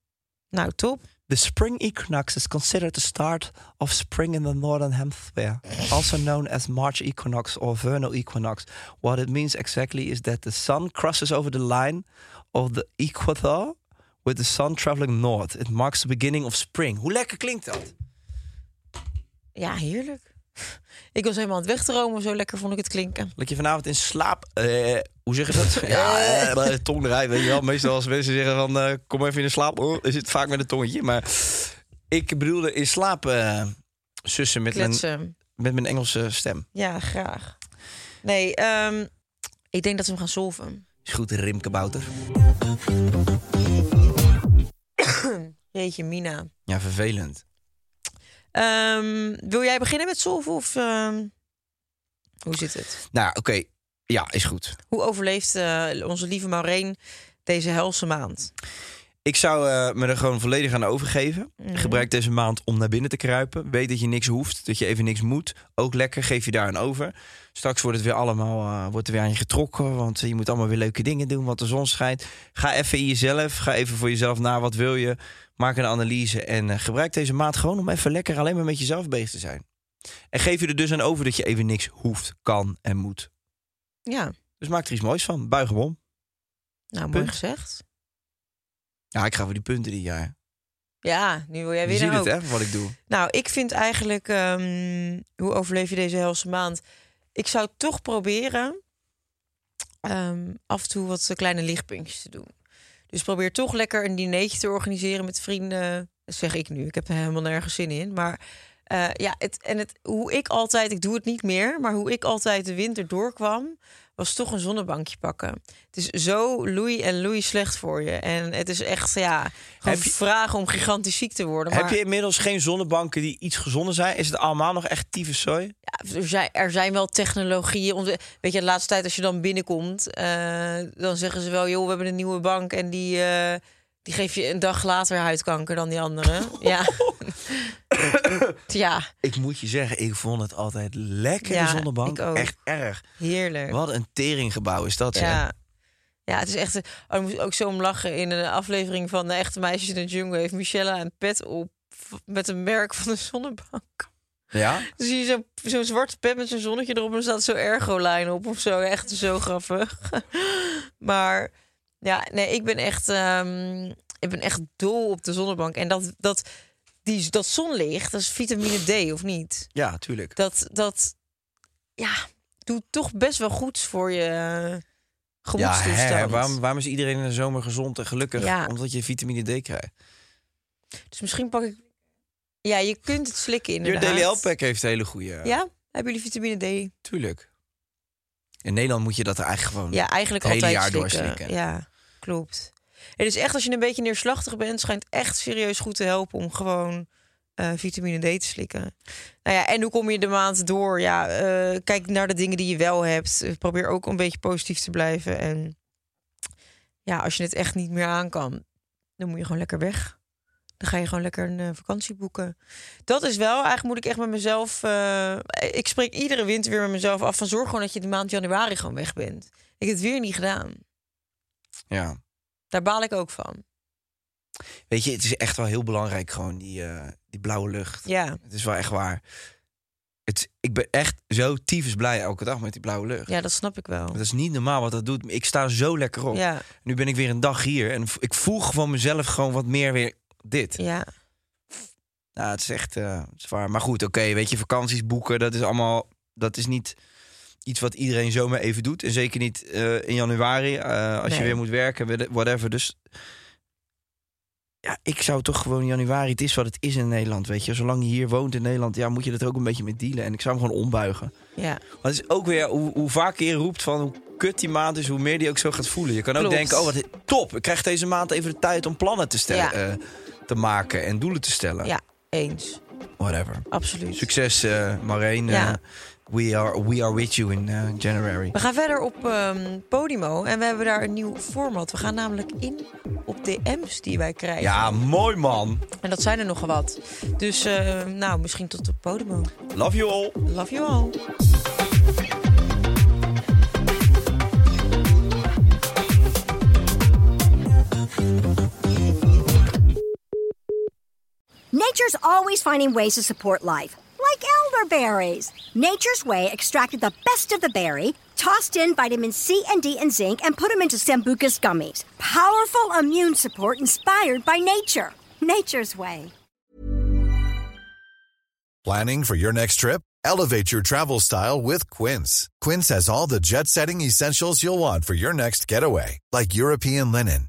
Speaker 2: Nou, top.
Speaker 1: The spring equinox is considered the start of spring in the northern hemisphere, also known as March equinox or vernal equinox. What it means exactly is that the sun crosses over the line of the equator with the sun traveling north. It marks the beginning of spring. Hoe lekker klinkt dat?
Speaker 2: Ja, heerlijk. (laughs) Ik was helemaal aan het wegdromen. Zo lekker vond ik het klinken.
Speaker 1: Dat je vanavond in slaap. eh, hoe zeg je dat? Ja, eh, maar tong eruit, weet je wel. Meestal als mensen zeggen van eh, kom even in de slaap, oh, is het vaak met een tongetje. Maar ik bedoelde in slaap eh, sussen met mijn,
Speaker 2: Kletsen.
Speaker 1: met mijn Engelse stem.
Speaker 2: Ja, graag. Nee, ehm, ik denk dat we hem gaan solven.
Speaker 1: Is goed, Rimke Bouter.
Speaker 2: Jeetje, Mina.
Speaker 1: Ja, vervelend.
Speaker 2: Ehm, wil jij beginnen met solven of... ehm, hoe zit het?
Speaker 1: Nou, oké. Ja, is goed.
Speaker 2: Hoe overleeft eh, onze lieve Maureen deze helse maand?
Speaker 1: Ik zou eh, me er gewoon volledig aan overgeven. Gebruik deze maand om naar binnen te kruipen. Weet dat je niks hoeft, dat je even niks moet. Ook lekker, geef je daar aan over. Straks wordt het weer allemaal eh, wordt er weer aan je getrokken. Want eh, je moet allemaal weer leuke dingen doen, want de zon schijnt. Ga even in jezelf, ga even voor jezelf na. Wat wil je? Maak een analyse en eh, gebruik deze maand gewoon om even lekker alleen maar met jezelf bezig te zijn. En geef je er dus aan over dat je even niks hoeft, kan en moet.
Speaker 2: Ja,
Speaker 1: Dus maak er iets moois van. Buig hem om.
Speaker 2: nou mooi
Speaker 1: Punt.
Speaker 2: gezegd.
Speaker 1: Ja, ik ga voor die punten dit jaar.
Speaker 2: Ja, nu wil jij
Speaker 1: Je
Speaker 2: weer
Speaker 1: ziet
Speaker 2: naar
Speaker 1: het,
Speaker 2: hoop.
Speaker 1: hè, wat ik doe.
Speaker 2: Nou, ik vind eigenlijk, ehm, hoe overleef je deze helse maand? Ik zou toch proberen ehm, af en toe wat kleine lichtpuntjes te doen. Dus probeer toch lekker een dinertje te organiseren met vrienden. Dat zeg ik nu. Ik heb er helemaal nergens zin in. Maar eh, ja, het, en het, hoe ik altijd, ik doe het niet meer, maar hoe ik altijd de winter doorkwam, was toch een zonnebankje pakken. Het is zo loei en loei slecht voor je. En het is echt, ja, gewoon
Speaker 1: Heb je-
Speaker 2: vragen om gigantisch ziek te worden.
Speaker 1: Heb
Speaker 2: maar-
Speaker 1: je inmiddels geen zonnebanken die iets gezonder zijn? Is het allemaal nog echt tyfuszooi?
Speaker 2: er zijn, er zijn wel technologieën. ontwe- Weet je, de laatste tijd als je dan binnenkomt, eh, dan zeggen ze wel, joh, we hebben een nieuwe bank en die, eh, die geeft je een dag later huidkanker dan die andere. ja. ja,
Speaker 1: Ik moet je zeggen, ik vond het altijd lekker,
Speaker 2: Ja,
Speaker 1: de zonnebank.
Speaker 2: ik ook.
Speaker 1: Echt erg.
Speaker 2: heerlijk.
Speaker 1: Wat een teringgebouw is dat, zeg.
Speaker 2: Ja. Ja, het is echt. Oh, daar moest ik ook zo om lachen. In een aflevering van De Echte Meisjes in de Jungle heeft Michelle een pet op met een merk van de zonnebank.
Speaker 1: Ja?
Speaker 2: Dan zie je zo- zo'n zwarte pet met zo'n zonnetje erop en er staat zo'n ergo-lijn op of zo. Echt zo grappig. (laughs) maar ja, nee, ik ben echt, ehm, ik ben echt dol op de zonnebank. En dat, dat, die, dat zonlicht, dat is vitamine D of niet?
Speaker 1: Ja, tuurlijk.
Speaker 2: Dat, dat ja, doet toch best wel goed voor je eh,
Speaker 1: Ja, hè,
Speaker 2: gemoedstoestand.
Speaker 1: waarom, waarom is iedereen in de zomer gezond en gelukkig?
Speaker 2: Ja.
Speaker 1: Omdat je vitamine D krijgt.
Speaker 2: Dus misschien pak ik... Ja, je kunt het slikken
Speaker 1: Your
Speaker 2: inderdaad.
Speaker 1: Daily Alpac heeft een hele goede.
Speaker 2: Ja? Hebben jullie vitamine D?
Speaker 1: Tuurlijk. In Nederland moet je dat er eigenlijk gewoon...
Speaker 2: Ja, eigenlijk
Speaker 1: het hele
Speaker 2: altijd
Speaker 1: jaar door
Speaker 2: slikken.
Speaker 1: slikken.
Speaker 2: Ja, klopt. Het is echt als je een beetje neerslachtig bent, schijnt echt serieus goed te helpen om gewoon eh, vitamine D te slikken. Nou ja, en hoe kom je de maand door? Ja, eh, kijk naar de dingen die je wel hebt. Eh, Probeer ook een beetje positief te blijven. En ja, als je het echt niet meer aan kan, dan moet je gewoon lekker weg. Dan ga je gewoon lekker een eh, vakantie boeken. Dat is wel, eigenlijk moet ik echt met mezelf. eh, ik spreek iedere winter weer met mezelf af van zorg gewoon dat je de maand januari gewoon weg bent. Ik heb het weer niet gedaan.
Speaker 1: ja.
Speaker 2: Daar baal ik ook van.
Speaker 1: Weet je, het is echt wel heel belangrijk gewoon die, eh, die blauwe lucht.
Speaker 2: Ja,
Speaker 1: Het is wel echt waar. Het, ik ben echt zo tyfus blij elke dag met die blauwe lucht.
Speaker 2: ja dat snap ik wel.
Speaker 1: Dat is niet normaal wat dat doet. Ik sta zo lekker op.
Speaker 2: Ja,
Speaker 1: Nu ben ik weer een dag hier en v- ik voel gewoon mezelf gewoon wat meer weer dit.
Speaker 2: ja,
Speaker 1: Nou, het is echt eh, zwaar. Maar goed, oké, weet je, vakanties boeken, dat is allemaal... Dat is niet iets wat iedereen zomaar even doet. En zeker niet eh, in januari, eh, als je
Speaker 2: Nee.
Speaker 1: weer moet werken, whatever. Dus ja, ik zou toch gewoon januari... Het is wat het is in Nederland, weet je. Zolang je hier woont in Nederland, ja, moet je dat er ook een beetje mee dealen. En ik zou hem gewoon ombuigen.
Speaker 2: ja.
Speaker 1: Maar het is ook weer hoe, hoe vaker je roept van hoe kut die maand is, hoe meer die ook zo gaat voelen. Je kan ook
Speaker 2: Klopt.
Speaker 1: denken, oh wat top, ik krijg deze maand even de tijd om plannen te, stellen,
Speaker 2: Ja.
Speaker 1: eh, te maken en doelen te stellen.
Speaker 2: Ja, eens.
Speaker 1: Whatever.
Speaker 2: Absoluut.
Speaker 1: Succes, eh Marijn.
Speaker 2: Ja.
Speaker 1: Eh, we, are, we are with you in eh, January.
Speaker 2: We gaan verder op ehm, Podimo en we hebben daar een nieuw format. We gaan namelijk in op DM's die wij krijgen.
Speaker 1: Ja, mooi man.
Speaker 2: En dat zijn er nogal wat. Dus eh, nou, misschien tot op Podimo.
Speaker 1: Love you all.
Speaker 2: Love you all.
Speaker 6: Nature's always finding ways to support life, like elderberries. Nature's Way extracted the best of the berry, tossed in vitamin C and D and zinc, and put them into Sambuca's gummies. Powerful immune support inspired by nature. Nature's Way.
Speaker 7: Planning for your next trip? Elevate your travel style with Quince. Quince has all the jet setting essentials you'll want for your next getaway, like European linen,